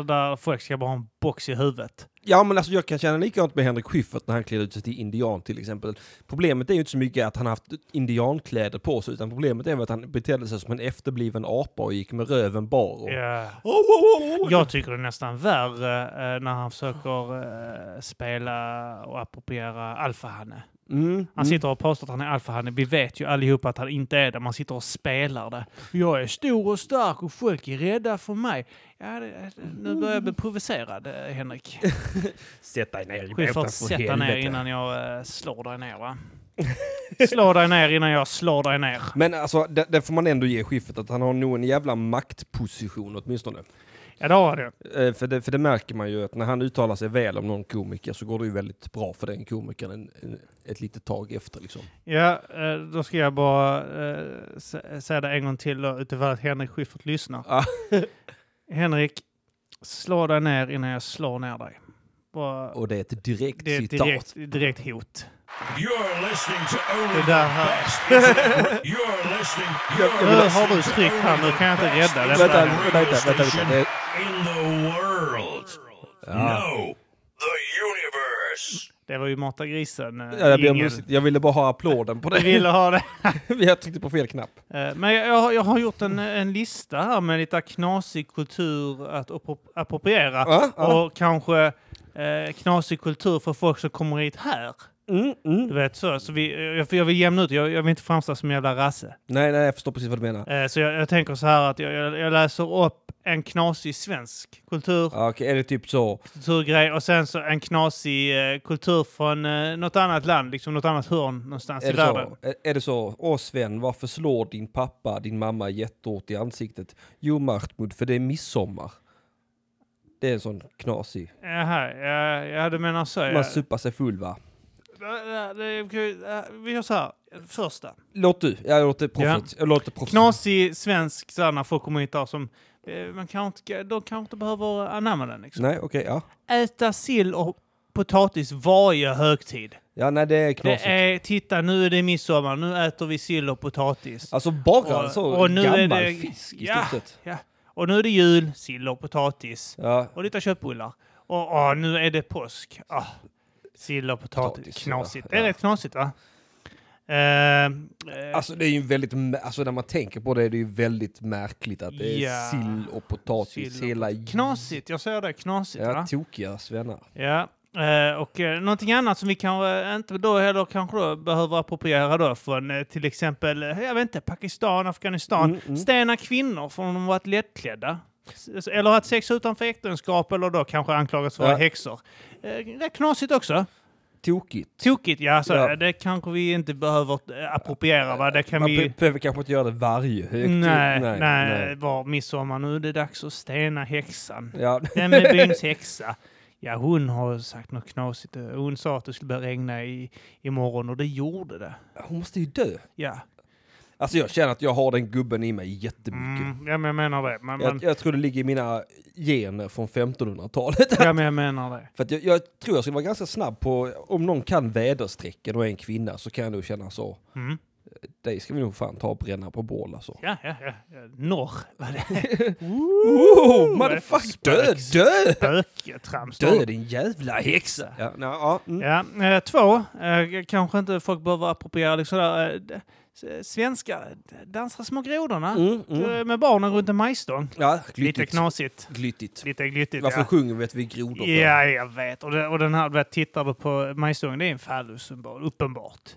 Speaker 3: där folk ska bara ha en box i huvudet.
Speaker 1: Ja, men alltså jag kan känna likadant med Henrik Schyffert när han klär ut sig till indian till exempel. Problemet är ju inte så mycket att han haft indiankläder på sig, utan problemet är väl att han betedde sig som en efterbliven apa och gick med röven bar. Och...
Speaker 3: Ja.
Speaker 1: Oh, oh, oh, oh.
Speaker 3: Jag tycker det är nästan värre eh, när han försöker eh, spela och appropriera alfahanne.
Speaker 1: Mm,
Speaker 3: Han
Speaker 1: mm.
Speaker 3: sitter och påstår att han är alfahanne. Vi vet ju allihopa att han inte är det. Man sitter och spelar det. Jag är stor och stark och folk är rädda för mig. Ja, det, nu börjar jag bli provocerad, eh, Henrik.
Speaker 1: Sätt dig ner i
Speaker 3: Schyffert,
Speaker 1: bätan, för
Speaker 3: sätt dig ner
Speaker 1: helvete.
Speaker 3: innan jag eh, slår dig ner, va? Slå dig ner innan jag slår dig ner.
Speaker 1: Men alltså, det, det får man ändå ge Schyffert, att han har nog en jävla maktposition åtminstone.
Speaker 3: Ja, det har du.
Speaker 1: Eh, för, det, för det märker man ju att när han uttalar sig väl om någon komiker så går det ju väldigt bra för den komikern en, en, ett litet tag efter liksom.
Speaker 3: Ja, eh, då ska jag bara eh, sä- säga det en gång till då, utifrån att Henrik Schyffert lyssnar.
Speaker 1: Ah.
Speaker 3: Henrik, slå dig ner innan jag slår ner dig. Bara,
Speaker 1: Och det är ett direkt
Speaker 3: det är ett
Speaker 1: citat.
Speaker 3: direkt, direkt hot.
Speaker 2: You're listening to only
Speaker 3: Det där
Speaker 2: the
Speaker 3: hör-
Speaker 2: best. internet- You're listening. You're
Speaker 3: Nu har du
Speaker 2: listening
Speaker 3: tryckt
Speaker 2: to
Speaker 3: här, nu
Speaker 2: only
Speaker 3: kan jag inte
Speaker 2: the best
Speaker 3: rädda
Speaker 2: internet
Speaker 1: Vänta,
Speaker 3: detta.
Speaker 1: vänta, vänta, Eh, vänta. Det,
Speaker 2: In the world. No, the universe.
Speaker 3: Det var ju Mata grisen eh,
Speaker 1: ja, jag, ber om
Speaker 3: jingeln.
Speaker 1: ursäkt. jag ville bara ha applåden på
Speaker 3: Vi
Speaker 1: det.
Speaker 3: ville ha det.
Speaker 1: jag tryckte på fel knapp.
Speaker 3: Eh, Men jag, jag, har- jag har gjort en, en lista här med lite knasig kultur att appro- appropriera.
Speaker 1: Ja, ja.
Speaker 3: Och kanske eh, knasig kultur för folk som kommer hit här.
Speaker 1: Mm, mm.
Speaker 3: Du vet så. så vi, jag, för jag vill jämna ut, jag, jag vill inte framstå som en jävla rasse.
Speaker 1: Nej, nej, jag förstår precis vad du menar.
Speaker 3: Eh, så jag, jag tänker så här att jag, jag, jag läser upp en knasig svensk kultur,
Speaker 1: Ja, Okej, är det typ så?
Speaker 3: kulturgrej och sen så en knasig eh, kultur från eh, något annat land, liksom något annat hörn någonstans
Speaker 1: Är
Speaker 3: i
Speaker 1: det
Speaker 3: världen.
Speaker 1: så? Är, är det så? Åh Sven, varför slår din pappa din mamma jättehårt i ansiktet? Jo Mahmoud, för det är midsommar. Det är en sån knasig.
Speaker 3: Jaha, ja, ja, du menar så. Ja.
Speaker 1: Man suppar sig full va?
Speaker 3: Ja, ja, det- ja, Vi gör så här, första.
Speaker 1: Låt du, jag låter proffsigt. Jag låter proffsigt.
Speaker 3: Knasig svensk, så här, när folk kommer hit där som eh, man kanske inte, de kanske inte behöver anamma den. Liksom.
Speaker 1: Nej, okej, ja.
Speaker 3: Äta sill och potatis varje högtid.
Speaker 1: Ja, nej det är knasigt.
Speaker 3: Det är, titta nu är det midsommar, nu äter vi sill och potatis.
Speaker 1: Alltså bara en sån gammal fisk i
Speaker 3: ja,
Speaker 1: stort sett.
Speaker 3: ja. Och nu är det jul, sill och potatis.
Speaker 1: Ja,
Speaker 3: Och lite köttbullar. Och ah, nu är det påsk. Ah, sill och potatis.
Speaker 1: Potatis,
Speaker 3: knasigt.
Speaker 1: ja,
Speaker 3: Det är
Speaker 1: ja.
Speaker 3: rätt knasigt va? Eh, eh,
Speaker 1: Alltså det är ju väldigt, mä- alltså när man tänker på det är det ju väldigt märkligt att det är
Speaker 3: Ja.
Speaker 1: sill och potatis
Speaker 3: Sill och
Speaker 1: hela
Speaker 3: knasigt, jag säger det. Knasigt
Speaker 1: Ja,
Speaker 3: va?
Speaker 1: tokiga svennar.
Speaker 3: Ja. Eh, och eh, någonting annat som vi kanske inte då heller kanske då behöver appropriera då från eh, till exempel, eh, jag vet inte, Pakistan, Afghanistan.
Speaker 1: Mm, mm.
Speaker 3: Stena kvinnor från de varit lättklädda. S- Eller haft sex utanför äktenskap eller då kanske anklagas för att vara
Speaker 1: Ja.
Speaker 3: häxor. Eh, Det är knasigt också.
Speaker 1: Tokigt.
Speaker 3: Tokigt, ja. Så
Speaker 1: Ja. Eh,
Speaker 3: Det kanske vi inte behöver eh, appropriera, va? Det kan
Speaker 1: Man
Speaker 3: vi...
Speaker 1: be- behöver kanske inte göra det varje högtid.
Speaker 3: Nej, nej, var midsommar nu. Det är dags att stena häxan.
Speaker 1: Ja.
Speaker 3: Vem är byns häxa? Ja, hon har sagt något knasigt. Hon sa att det skulle börja regna i, imorgon och det gjorde det.
Speaker 1: Hon måste ju dö.
Speaker 3: Ja,
Speaker 1: Alltså jag känner att jag har den gubben i mig jättemycket.
Speaker 3: mm, ja men jag menar det. Man, man,
Speaker 1: Jag, jag tror det ligger i mina gener från 1500-talet.
Speaker 3: ja, men jag menar det.
Speaker 1: För att jag, jag tror jag skulle vara ganska snabb på, om någon kan väderstrecken och är en kvinna så kan jag nog känna så.
Speaker 3: Mm.
Speaker 1: Dig ska vi nog fan ta och bränna på bål alltså.
Speaker 3: Ja, ja, ja. ja. Norr var det.
Speaker 1: Oh,
Speaker 3: vad är det för
Speaker 1: motherfuck, dö,
Speaker 3: spöks-
Speaker 1: dö!
Speaker 3: Böketrams.
Speaker 1: Dö din jävla häxa! Ja, na, ja, mm.
Speaker 3: Ja, eh, två. Eh, kanske inte folk behöver appropriera liksom där. Eh, d- s- svenskar d- dansar små grodorna
Speaker 1: Mm, mm.
Speaker 3: eh, med barnen runt en majstång.
Speaker 1: ja
Speaker 3: Lite
Speaker 1: glyttigt.
Speaker 3: knasigt.
Speaker 1: Glyttigt.
Speaker 3: Lite glyttigt.
Speaker 1: Varför
Speaker 3: ja.
Speaker 1: sjunger vi att vi är grodor? för?
Speaker 3: Ja, jag vet. Och, det, och den här, du vet, tittar du på majstången, det är en fallus-symbol, uppenbart.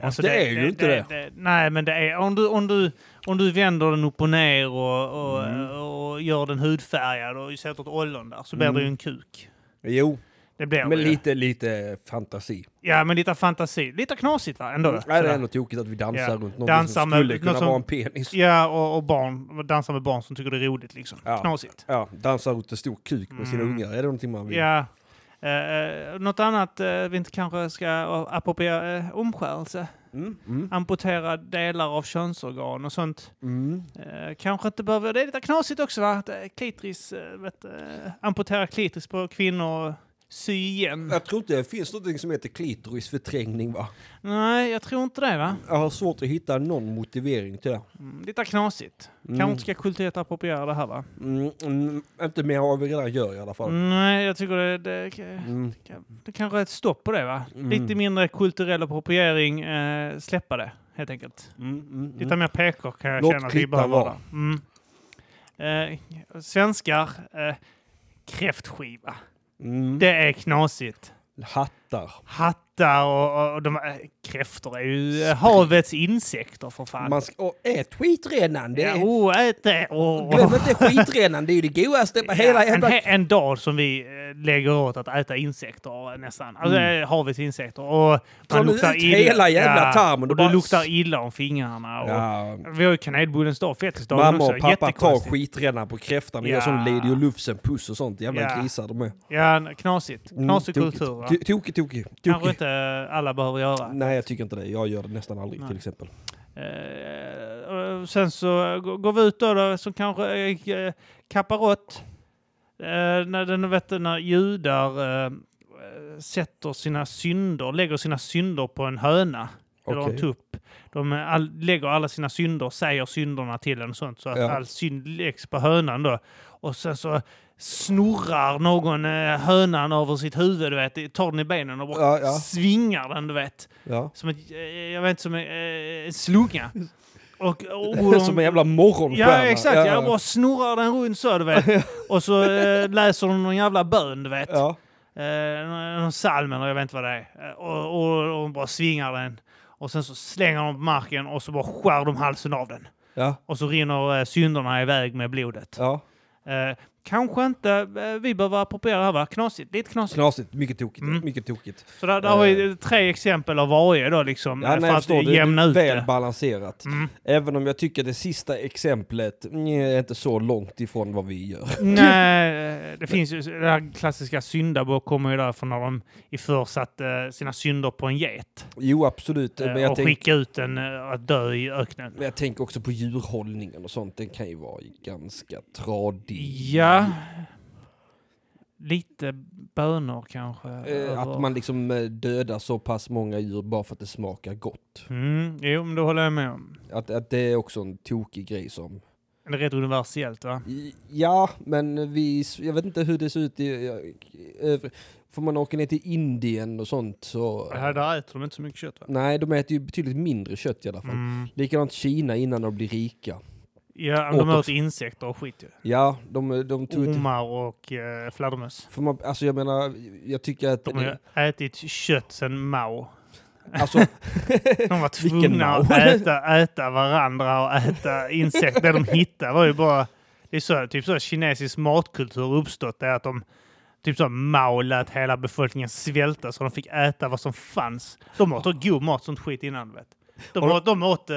Speaker 3: Alltså,
Speaker 1: det är ju inte det.
Speaker 3: Nej, men det är, om, du, om, du, om du vänder den upp och ner och, och,
Speaker 1: Mm.
Speaker 3: och gör den hudfärgad och sätter ett ollon där så blir det ju en kuk.
Speaker 1: Jo,
Speaker 3: Det blir
Speaker 1: Mm. men
Speaker 3: det ju.
Speaker 1: lite, lite fantasi.
Speaker 3: Ja, men lite fantasi. Lite knasigt va, ändå.
Speaker 1: Nej, det
Speaker 3: Sådär.
Speaker 1: är ändå tokigt att vi dansar
Speaker 3: Ja.
Speaker 1: runt någonting
Speaker 3: Dansar
Speaker 1: som
Speaker 3: med-
Speaker 1: skulle kunna
Speaker 3: något som-
Speaker 1: vara en penis.
Speaker 3: Ja, och, och barn, dansar med barn som tycker det är roligt liksom.
Speaker 1: Ja.
Speaker 3: Knasigt.
Speaker 1: Ja, dansar runt en stor kuk med sina ungar. Är det någonting man vill?
Speaker 3: Mm. Ja. Uh, något annat eh, vi inte kanske ska uh, appropriera? eh, omskärelse.
Speaker 1: Mm, mm,
Speaker 3: amputera delar av könsorgan och sånt.
Speaker 1: mm.
Speaker 3: Eh, kanske inte behöver... Det är lite knasigt också va? Att, eh, klitris, eh, vet, eh, amputera klitris på kvinnor och sy igen.
Speaker 1: Jag tror inte det finns någonting som heter klitorisförträngning va?
Speaker 3: Nej, jag tror inte det va?
Speaker 1: Jag har svårt att hitta någon motivering till det.
Speaker 3: Mm, lite knasigt. Kanske
Speaker 1: Mm.
Speaker 3: inte ska kulturellt appropriera det här va?
Speaker 1: Mm, mm, inte mer än vad vi redan gör i alla fall.
Speaker 3: Nej, jag tycker det, det,
Speaker 1: Mm.
Speaker 3: det kanske är ett stopp på det va?
Speaker 1: Mm.
Speaker 3: Lite mindre kulturell appropriering, eh, släppa det helt enkelt.
Speaker 1: Mm, mm,
Speaker 3: Lite
Speaker 1: mm.
Speaker 3: mer PK kan jag
Speaker 1: Låt
Speaker 3: känna att vi
Speaker 1: klittan
Speaker 3: behöver.
Speaker 1: vara.
Speaker 3: där. Mm. Eh, svenskar, eh, kräftskiva.
Speaker 1: Mm.
Speaker 3: Det är knasigt.
Speaker 1: Hattar.
Speaker 3: Hattar och, och, och de, eh, kräftor är ju eh, havets insekter för fan.
Speaker 1: Man ska, och ät skitrenan! Det
Speaker 3: ja,
Speaker 1: är,
Speaker 3: oh, ät det! Oh, oh.
Speaker 1: Glöm inte skitrenan, det är ju det godaste på hela
Speaker 3: Ja, en,
Speaker 1: jävla...
Speaker 3: he- en dag som vi eh, lägger åt att äta insekter eh, nästan. Alltså eh, havets insekter. Och
Speaker 1: Drar Mm. du ut hela jävla tarmen,
Speaker 3: och
Speaker 1: då
Speaker 3: du
Speaker 1: bara-
Speaker 3: luktar illa om fingrarna. Och,
Speaker 1: Ja.
Speaker 3: Vi har ju kanelbullens dag, fettisdagen
Speaker 1: Mamma
Speaker 3: också.
Speaker 1: och pappa tar
Speaker 3: Jättekonstigt.
Speaker 1: skitrenan på kräftan och
Speaker 3: Ja.
Speaker 1: gör sån Lady och Lufsen puss och sånt. Jävla
Speaker 3: Ja.
Speaker 1: grisar de är. Mm,
Speaker 3: Ja, knasigt. Knasig kultur. va?
Speaker 1: Tokigt, tokigt. tokigt.
Speaker 3: Kanske inte alla behöver göra.
Speaker 1: Nej, jag tycker inte det. Jag gör det nästan aldrig till exempel.
Speaker 3: Eh, och sen så g- går vi ut då, då som kanske eh, eh, kaparott. Eh, när, den, vet, du, när judar eh, sätter sina synder, lägger sina synder på en höna. Eller en
Speaker 1: Okej.
Speaker 3: tupp. De eh, all, lägger alla sina synder, säger synderna till en och sånt. Så att
Speaker 1: Ja.
Speaker 3: all synd läggs på hönan då. Och sen så snurrar någon eh, hönan över sitt huvud, du vet. Tar den i benen och bara
Speaker 1: Ja, ja.
Speaker 3: svingar den, du vet.
Speaker 1: Ja.
Speaker 3: Som ett, eh, jag vet inte, som en eh, en slunga. Och, och,
Speaker 1: Som en jävla morgonstjärna.
Speaker 3: Ja, exakt. Jag bara snurrar den runt så, du vet. Och så eh, läser de någon jävla bön, du vet.
Speaker 1: Ja.
Speaker 3: Eh, någon- någon psalm eller jag vet inte vad det är. Eh, Och, och, och de bara svingar den. Och sen så slänger de på marken och så bara skär de halsen av den.
Speaker 1: Ja.
Speaker 3: Och så rinner eh, synderna iväg med blodet.
Speaker 1: ja.
Speaker 3: Eh, kanske inte eh, vi behöver appropriera här, va? Knasigt. Lite knasigt.
Speaker 1: Knasigt. Mycket tokigt.
Speaker 3: Mm.
Speaker 1: Mycket tokigt.
Speaker 3: Så där, där har vi tre exempel av varje då, liksom.
Speaker 1: Eh. Ja, nej,
Speaker 3: eh, för
Speaker 1: jag
Speaker 3: att
Speaker 1: förstår. Det
Speaker 3: jämna
Speaker 1: är
Speaker 3: ut
Speaker 1: väl
Speaker 3: det.
Speaker 1: balanserat.
Speaker 3: Mm.
Speaker 1: Även om jag tycker det sista exemplet mm, är inte så långt ifrån vad vi gör.
Speaker 3: Nej, det finns ju det här klassiska syndabock kommer ju därifrån när de i förr satte eh, sina synder på en get
Speaker 1: Jo, absolut. Men
Speaker 3: eh,
Speaker 1: jag,
Speaker 3: och
Speaker 1: tänk,
Speaker 3: skickade ut den eh, att dö i öknen.
Speaker 1: men jag tänker också på djurhållningen och sånt. Den kan ju vara ganska tradig.
Speaker 3: Ja. Lite bönor kanske.
Speaker 1: Eh,
Speaker 3: över-
Speaker 1: Att man liksom eh, dödar så pass många djur bara för att det smakar gott.
Speaker 3: Mm, jo, men det håller jag med om.
Speaker 1: Att, att det är också en tokig grej som...
Speaker 3: Det är rätt universellt va?
Speaker 1: I- Ja, men vi... Jag vet inte hur det ser ut i... i övre- Får man åka ner till Indien och sånt så...
Speaker 3: Här där äter de inte så mycket kött va?
Speaker 1: Nej, de äter ju betydligt mindre kött i alla fall.
Speaker 3: Mm.
Speaker 1: Likadant Kina innan de blir rika.
Speaker 3: Ja,
Speaker 1: Åt
Speaker 3: de
Speaker 1: också.
Speaker 3: åt insekter och skit ju.
Speaker 1: Ja, de, de tog inte...
Speaker 3: Ormar och eh, fladdermöss.
Speaker 1: För man, alltså jag menar, jag tycker att...
Speaker 3: De har ju ätit kött sedan Mao.
Speaker 1: Alltså,
Speaker 3: De var
Speaker 1: Vilken
Speaker 3: tvungna att
Speaker 1: mall.
Speaker 3: äta, äta varandra och äta insekter. Det de hittade var ju bara Det är så, typ så kinesisk matkultur uppstått. Det är att de typ så Mao lät hela befolkningen svälta så de fick äta vad som fanns. De åt god mat, sånt skit innan du vet. De
Speaker 1: Har du-
Speaker 3: åt, de åt eh,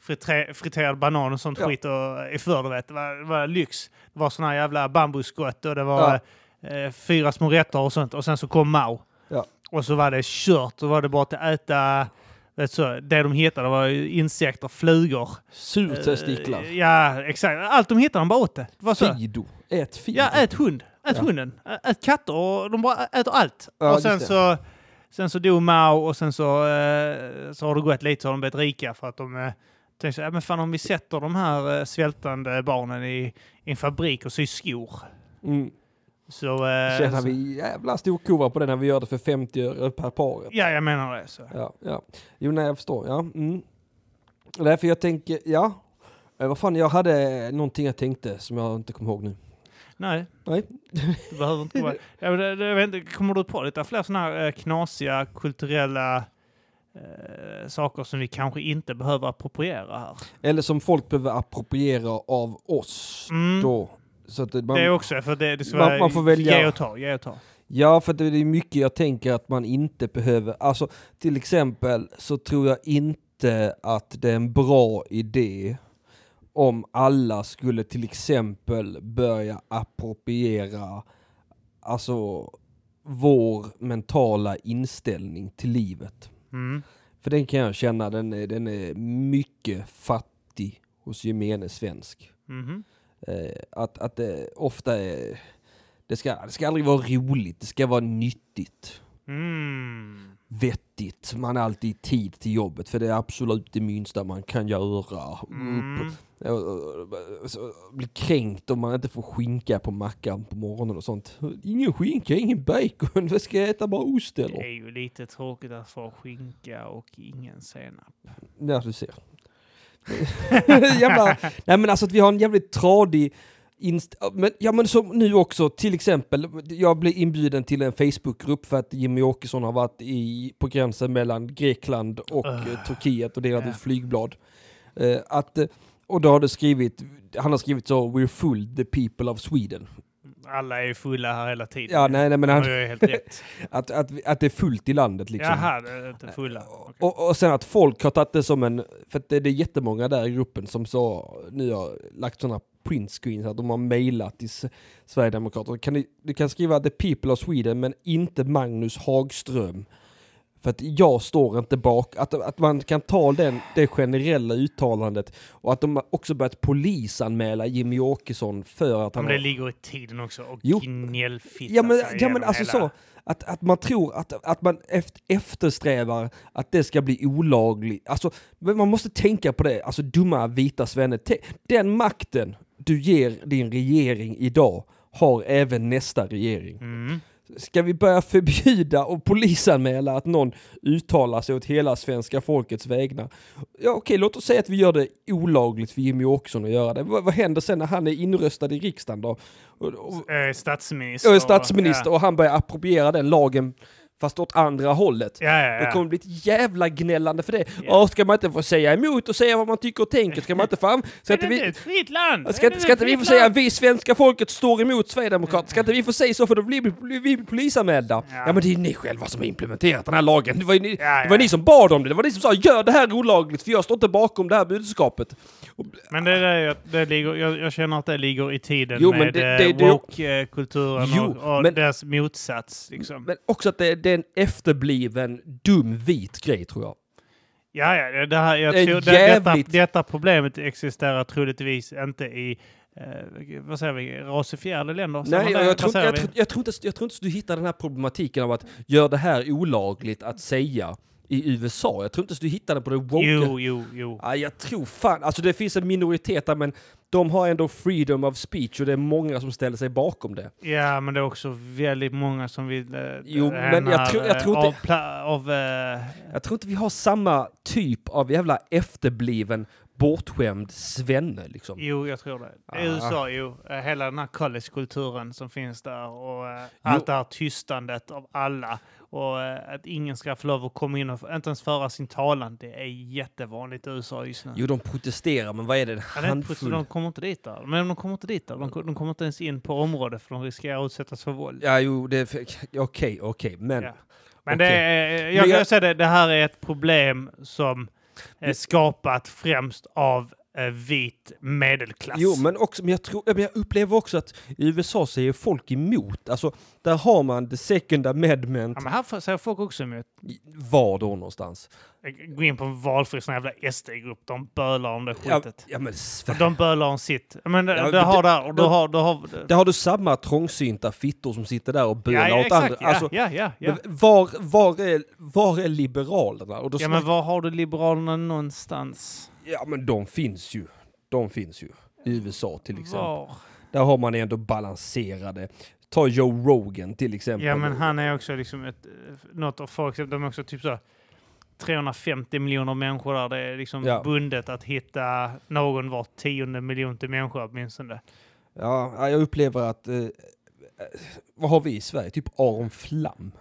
Speaker 3: fritre- friterad banan och sånt
Speaker 1: Ja.
Speaker 3: skit och, i förr, du vet. Det var, det var lyx. Det var såna här jävla bambuskott och det var eh, fyra små rätter och sånt. Och sen så kom Mao.
Speaker 1: Ja.
Speaker 3: Och så var det kört. Då var det bara att äta... Vet så, det de hittade var ju insekter, flugor.
Speaker 1: Surtestiklar.
Speaker 3: Eh, Ja, exakt. Allt de hittade, de bara åt det. det var så.
Speaker 1: Fido. Ät Fido.
Speaker 3: Ja, ät hund. Ät
Speaker 1: Ja.
Speaker 3: hunden. Ä- Ät katter. Och de bara äter allt.
Speaker 1: Ja,
Speaker 3: och sen
Speaker 1: just
Speaker 3: så, sen så dog Mao och sen så, eh, så har det gått lite så har de blivit rika för att de eh, tänkte så här, "Ja, men fan om vi sätter de här eh, svältande barnen i, i en fabrik och syr skor.
Speaker 1: Mm.
Speaker 3: Så... eh,
Speaker 1: Tjänar
Speaker 3: så-
Speaker 1: vi jävla storkovan på det när vi gör det för 50 öre per par.
Speaker 3: Ja, jag menar det. Så.
Speaker 1: Ja, ja. Jo, nej, jag förstår. Ja. Mm. Därför jag tänker, ja. Eh, vad fan, jag hade någonting jag tänkte som jag inte kommer ihåg nu.
Speaker 3: Nej.
Speaker 1: Nej.
Speaker 3: Du behöver inte komma... ja, men det, det, jag vet inte, kommer du på lite fler sådana här eh, knasiga kulturella eh, saker som vi kanske inte behöver appropriera här?
Speaker 1: Eller som folk behöver appropriera av oss
Speaker 3: Mm.
Speaker 1: då. Så att man,
Speaker 3: det är också, för det, det ska
Speaker 1: Man-
Speaker 3: vara
Speaker 1: man får välja.
Speaker 3: ge och ta. Ge och ta.
Speaker 1: Ja, för det är mycket jag tänker att man inte behöver. Alltså, till exempel så tror jag inte att det är en bra idé om alla skulle till exempel börja appropriera alltså vår mentala inställning till livet.
Speaker 3: Mm.
Speaker 1: För den kan jag känna, den är, den är mycket fattig hos gemene svensk.
Speaker 3: Mhm.
Speaker 1: Eh, att, att det ofta är... Det ska, det ska aldrig vara roligt, det ska vara nyttigt,
Speaker 3: Mm.
Speaker 1: vettigt. Man har alltid tid till jobbet för det är absolut det minsta man kan göra.
Speaker 3: Mm.
Speaker 1: Upp, och, och, och, så bli kränkt om man inte får skinka på mackan på morgonen och sånt. Ingen skinka, ingen bacon. Vad ska jag äta? Bara ost
Speaker 3: Det är
Speaker 1: eller?
Speaker 3: ju lite tråkigt att få skinka och ingen senap.
Speaker 1: Ja, du ser. Jävla, nej men alltså att vi har en jävligt tradig inst- ja, men, ja men som nu också, till exempel, jag blev inbjuden till en Facebookgrupp för att Jimmy Åkesson har varit i, på gränsen mellan Grekland och
Speaker 3: Ugh.
Speaker 1: eh, Turkiet och delat
Speaker 3: Ja.
Speaker 1: ut flygblad. Eh, att, eh, och då har det skrivit, han har skrivit så, We're full, the people of Sweden.
Speaker 3: Alla är ju fulla här hela tiden.
Speaker 1: Ja, nej, nej men
Speaker 3: Det
Speaker 1: han,
Speaker 3: har ju helt rätt.
Speaker 1: att, att, att det är fullt i landet liksom.
Speaker 3: Jaha, det är inte fulla. Okej.
Speaker 1: Och, och sen att folk har tagit det som en, för att det, det är jättemånga där i gruppen som så, nu har lagt sådana printscreens att de har mejlat till S- Sverigedemokraterna. Kan du, du kan skriva The People of Sweden men inte Magnus Hagström. För att jag står inte bak, att, att man kan ta den, det generella uttalandet och att de har också börjat polisanmäla Jimmy Åkesson för att
Speaker 3: Ja,
Speaker 1: han
Speaker 3: Men
Speaker 1: har
Speaker 3: det ligger i tiden också och
Speaker 1: Jo.
Speaker 3: gnällfitta
Speaker 1: Ja men,
Speaker 3: sig
Speaker 1: ja, men
Speaker 3: igenom
Speaker 1: alltså
Speaker 3: hela-
Speaker 1: så, att, att man tror att, att man eft- eftersträvar att det ska bli olagligt. Alltså, men man måste tänka på det, alltså dumma vita svenne. Te- Den makten du ger din regering idag har även nästa regering.
Speaker 3: Mm.
Speaker 1: Ska vi börja förbjuda och polisanmäla att någon uttalar sig åt hela svenska folkets vägnar? Ja okej, låt oss säga att vi gör det olagligt för Jimmy Åkesson att göra det. Vad, vad händer sen när han är inröstad i riksdagen då? Och, och,
Speaker 3: Eh, statsminister.
Speaker 1: jag är statsminister och han börjar appropriera den lagen fast åt andra hållet.
Speaker 3: Ja, ja,
Speaker 1: Det
Speaker 3: ja.
Speaker 1: kommer bli ett jävla gnällande för det.
Speaker 3: Ja.
Speaker 1: Åh, ska man inte få säga emot och säga vad man tycker och tänker? Ska man inte fan... Ska
Speaker 3: Är det
Speaker 1: inte
Speaker 3: inte
Speaker 1: vi,
Speaker 3: ett fritt land?
Speaker 1: ska,
Speaker 3: Är det
Speaker 1: inte- ska inte
Speaker 3: ett
Speaker 1: vi
Speaker 3: fritt
Speaker 1: få säga
Speaker 3: land?
Speaker 1: vi svenska folket står emot Sverigedemokraterna? Ska inte vi få säga så för då blir vi- blir vi polisanmälda? Ja.
Speaker 3: Ja.
Speaker 1: men det är ni själva som har implementerat den här lagen. Det var ju ni,
Speaker 3: Ja,
Speaker 1: det var
Speaker 3: ja.
Speaker 1: ni som bad om det. Det var ni som sa gör det här olagligt för jag står inte bakom det här budskapet.
Speaker 3: Men det, där, jag- det ligger, jag, jag känner att det ligger i tiden
Speaker 1: Jo, men
Speaker 3: med
Speaker 1: det-
Speaker 3: eh,
Speaker 1: det- det-
Speaker 3: woke-kulturen
Speaker 1: Jo,
Speaker 3: och, och
Speaker 1: men-
Speaker 3: dess motsats. Liksom.
Speaker 1: Men också att det, det är en efterbliven dum vit grej tror jag.
Speaker 3: ja, ja, det- det här, jag
Speaker 1: Det är
Speaker 3: tror, det, detta,
Speaker 1: jävligt-
Speaker 3: detta problemet existerar troligtvis inte i eh, vad säger vi, rasifierade länder. Säger
Speaker 1: Nej,
Speaker 3: man
Speaker 1: jag,
Speaker 3: det?
Speaker 1: jag,
Speaker 3: Vad
Speaker 1: tror,
Speaker 3: säger
Speaker 1: jag,
Speaker 3: vi?
Speaker 1: tror, jag, tror inte, jag tror inte du hittar den här problematiken av att gör det här olagligt att säga i USA. Jag tror inte du hittar den på det woke.
Speaker 3: Jo, jo, jo.
Speaker 1: Ja, jag tror fan, alltså det finns en minoritet där men de har ändå freedom of speech och det är många som ställer sig bakom det.
Speaker 3: Ja, men det är också väldigt många som vill... Eh,
Speaker 1: Jo,
Speaker 3: den
Speaker 1: men jag
Speaker 3: här,
Speaker 1: tror- jag
Speaker 3: eh,
Speaker 1: tror inte-
Speaker 3: Av, pla- av eh,
Speaker 1: Jag tror inte vi har samma typ av jävla efterbliven bortskämd svenne liksom.
Speaker 3: Jo, jag tror det. Det är
Speaker 1: Ah.
Speaker 3: USA, jo. Eh, Hela den här collegekulturen som finns där och eh, allt det här tystandet av alla och eh, att ingen ska få lov att komma in och f- inte ens föra sin talan. Det är jättevanligt i USA just nu.
Speaker 1: Jo, de protesterar, men vad är det? En
Speaker 3: Ja, det är inte precis-
Speaker 1: handfull?
Speaker 3: de kommer inte dit där. Men de kommer inte dit där. De, ko- de kommer inte ens in på området för de riskerar att utsättas för våld.
Speaker 1: Ja, jo, det... är för- Okej, okej, men...
Speaker 3: Ja. Men
Speaker 1: Okej.
Speaker 3: det, är- jag,
Speaker 1: Men jag-
Speaker 3: jag säger det, det här är ett problem som är skapat främst av eh, vit medelklass.
Speaker 1: Jo, men, också, men, jag tror, ja, men jag upplever också att i USA säger folk emot. Alltså, där har man the second amendment.
Speaker 3: Ja, men här får- säger folk också emot.
Speaker 1: Var då någonstans?
Speaker 3: Gå in på en valfri sån jävla SD-grupp. De bölar om det
Speaker 1: Ja,
Speaker 3: skitet.
Speaker 1: ja, men Sverige.
Speaker 3: De bölar om sitt. Men eh, det,
Speaker 1: Ja,
Speaker 3: det
Speaker 1: men
Speaker 3: har
Speaker 1: det-
Speaker 3: där och då
Speaker 1: de-
Speaker 3: har... Då har
Speaker 1: Där har du samma trångsynta fittor som sitter där och bölar
Speaker 3: ja, ja,
Speaker 1: åt andra.
Speaker 3: exakt. Ja,
Speaker 1: Alltså,
Speaker 3: ja, ja, ja.
Speaker 1: men Var, var, är, var är liberalerna? Och då
Speaker 3: ja,
Speaker 1: snack-
Speaker 3: men var har du Liberalerna någonstans?
Speaker 1: ja, men de finns ju. De finns ju. I USA till exempel.
Speaker 3: Var?
Speaker 1: Där har man ändå balanserade. Ta Joe Rogan till exempel.
Speaker 3: Ja, men han är också liksom ett, eh, något av folk, de är också typ så här 350 miljoner människor där. Det är liksom
Speaker 1: Ja.
Speaker 3: bundet att hitta någon var tionde miljon till människa åtminstone.
Speaker 1: Ja, ja, jag upplever att... Eh, eh, vad har vi i Sverige? Typ Aron Flam.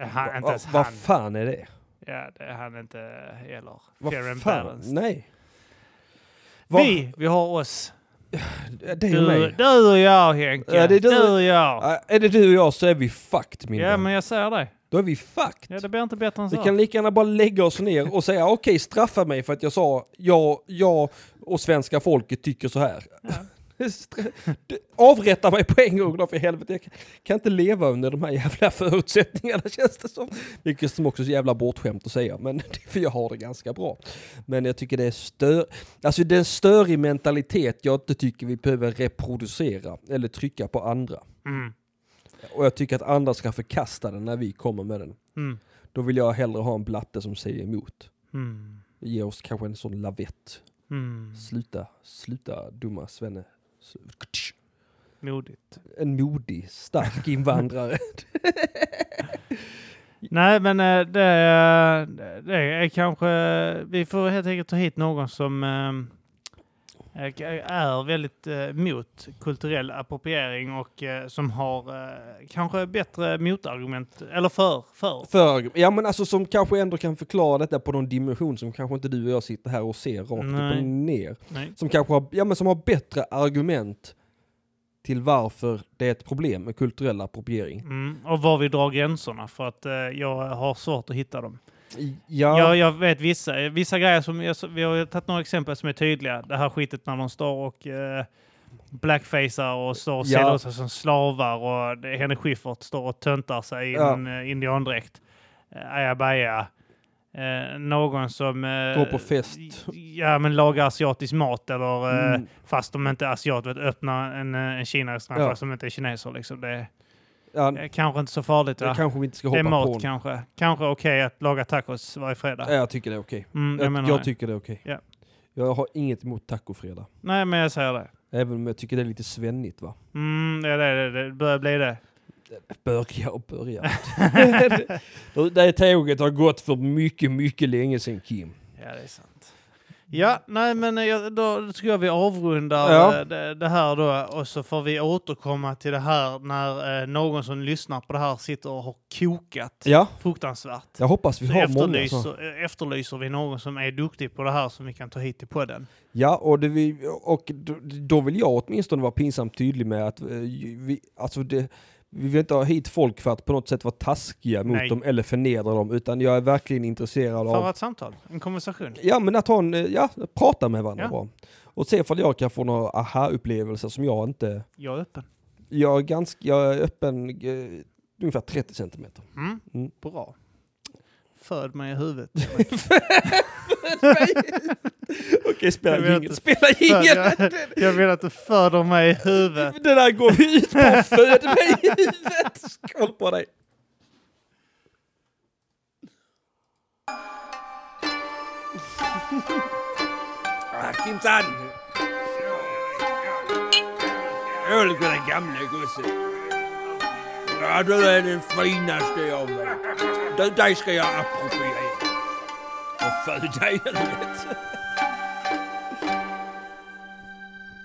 Speaker 3: Eh, Han, inte
Speaker 1: Va-
Speaker 3: ens
Speaker 1: Vad
Speaker 3: han.
Speaker 1: fan är det?
Speaker 3: Ja, det är han inte heller.
Speaker 1: Vad
Speaker 3: Fair and
Speaker 1: fan?
Speaker 3: balanced.
Speaker 1: Nej. Vad-
Speaker 3: Vi, vi har oss.
Speaker 1: Det är
Speaker 3: Du,
Speaker 1: mig.
Speaker 3: du och jag Henke.
Speaker 1: Ja, det är du-
Speaker 3: du. och jag.
Speaker 1: Ja, Är det du och jag så är vi fucked min
Speaker 3: Ja,
Speaker 1: vän.
Speaker 3: men jag säger det.
Speaker 1: Då är vi fucked.
Speaker 3: Ja, det blir inte bättre än
Speaker 1: Vi
Speaker 3: så.
Speaker 1: kan lika gärna bara lägga oss ner och säga okej, straffa mig för att jag sa jag, jag och svenska folket tycker så här. Stra- du- Avrätta mig på en gång då för helvete. Jag kan- kan inte leva under de här jävla förutsättningarna känns det som. Vilket som också är så jävla bortskämt att säga, men för jag har det ganska bra. Men jag tycker det är stör... Alltså det är en störig mentalitet jag inte tycker vi behöver reproducera eller trycka på andra.
Speaker 3: Mm.
Speaker 1: Och jag tycker att andra ska förkasta den när vi kommer med den.
Speaker 3: Mm.
Speaker 1: Då vill jag hellre ha en blatte som säger emot.
Speaker 3: Mm.
Speaker 1: Ge oss kanske en sån lavett.
Speaker 3: Mm.
Speaker 1: Sluta, sluta dumma svenne. S- ktsch.
Speaker 3: Modigt.
Speaker 1: En modig, stark invandrare.
Speaker 3: Nej, men eh, det, är- det är kanske... Vi får helt enkelt ta hit någon som eh, är väldigt eh, mot kulturell appropriering och eh, som har eh, kanske bättre motargument, eller för, för.
Speaker 1: För, ja men alltså som kanske ändå kan förklara detta på någon dimension som kanske inte du och jag sitter här och ser rakt upp
Speaker 3: Nej.
Speaker 1: och ner.
Speaker 3: Nej.
Speaker 1: Som kanske har, ja men som har bättre argument till varför det är ett problem med kulturell appropriering.
Speaker 3: Mm, och var vi drar gränserna, för att eh, jag har svårt att hitta dem.
Speaker 1: Ja,
Speaker 3: Jag, jag vet vissa, vissa grejer som, jag, vi har ju tagit några exempel som är tydliga. Det här skitet när de står och eh, blackfacear och står och
Speaker 1: Ja.
Speaker 3: säljer sig som slavar och det, Henrik Schyffert står och töntar sig i
Speaker 1: Ja.
Speaker 3: en eh, indiandräkt. Eh, Ajabaja. Eh, någon som... Eh,
Speaker 1: Går på fest.
Speaker 3: Ja, men lagar asiatisk mat eller eh,
Speaker 1: Mm.
Speaker 3: fast de inte är asiater, vet, öppnar en, eh, en Kina-restaurang
Speaker 1: Ja.
Speaker 3: fast de inte är kineser. Liksom. Det
Speaker 1: ja,
Speaker 3: är kanske inte så farligt.
Speaker 1: det
Speaker 3: Va?
Speaker 1: kanske vi inte ska
Speaker 3: Det är
Speaker 1: hoppa
Speaker 3: mat
Speaker 1: på. Eh, nu.
Speaker 3: kanske. Kanske okej att laga tacos varje fredag.
Speaker 1: Ja, jag tycker det är okej.
Speaker 3: Mm, jag,
Speaker 1: Jag,
Speaker 3: menar
Speaker 1: jag
Speaker 3: det.
Speaker 1: tycker det är okej.
Speaker 3: Ja.
Speaker 1: Jag har inget emot tacofredag.
Speaker 3: Nej, men jag säger det.
Speaker 1: Även om jag tycker det är lite svennigt va?
Speaker 3: Mm, det, är det, det, det börjar bli det.
Speaker 1: Börja och börja. det, det tåget har gått för mycket, mycket länge sedan Kim.
Speaker 3: Ja, det är sant. Ja, nej, men eh, jag, då, då tror jag vi avrundar
Speaker 1: Ja.
Speaker 3: eh, det, det här då och så får vi återkomma till det här när eh, någon som lyssnar på det här sitter och har kokat
Speaker 1: Ja,
Speaker 3: fruktansvärt.
Speaker 1: jag hoppas vi
Speaker 3: Så
Speaker 1: har många alltså. så.
Speaker 3: efterlyser, eh, efterlyser vi någon som är duktig på det här som vi kan ta hit till podden.
Speaker 1: Ja, och, det vi, och då- då vill jag åtminstone vara pinsamt tydlig med att eh, vi, alltså det, vi vill inte ha hit folk för att på något sätt vara taskiga mot
Speaker 3: Nej.
Speaker 1: dem eller förnedra dem, utan jag är verkligen intresserad av
Speaker 3: För ett samtal, en konversation.
Speaker 1: Ja, men att ha en, eh, ja, prata med varandra
Speaker 3: Ja.
Speaker 1: bra. Och se ifall jag kan få några aha-upplevelser som jag inte...
Speaker 3: Jag är öppen.
Speaker 1: Jag är, ganska, jag är öppen eh, ungefär 30 centimeter.
Speaker 3: Mm.
Speaker 1: Mm.
Speaker 3: Bra. Föd mig i huvudet.
Speaker 1: Okej,
Speaker 3: Jag
Speaker 1: spela
Speaker 3: vet
Speaker 1: jingel.
Speaker 3: inte.
Speaker 1: Spela
Speaker 3: Föd,
Speaker 1: jingel!
Speaker 3: jag, jag vill att du föder mig i huvudet.
Speaker 1: Det där går vi ut på. Föd mig i huvudet! Skål på dig! Ah, Kimsan! Öl för den gamle gosse. Ja, du är den finaste jag vet. Du, dig ska jag appropriera. Och föda i helvete.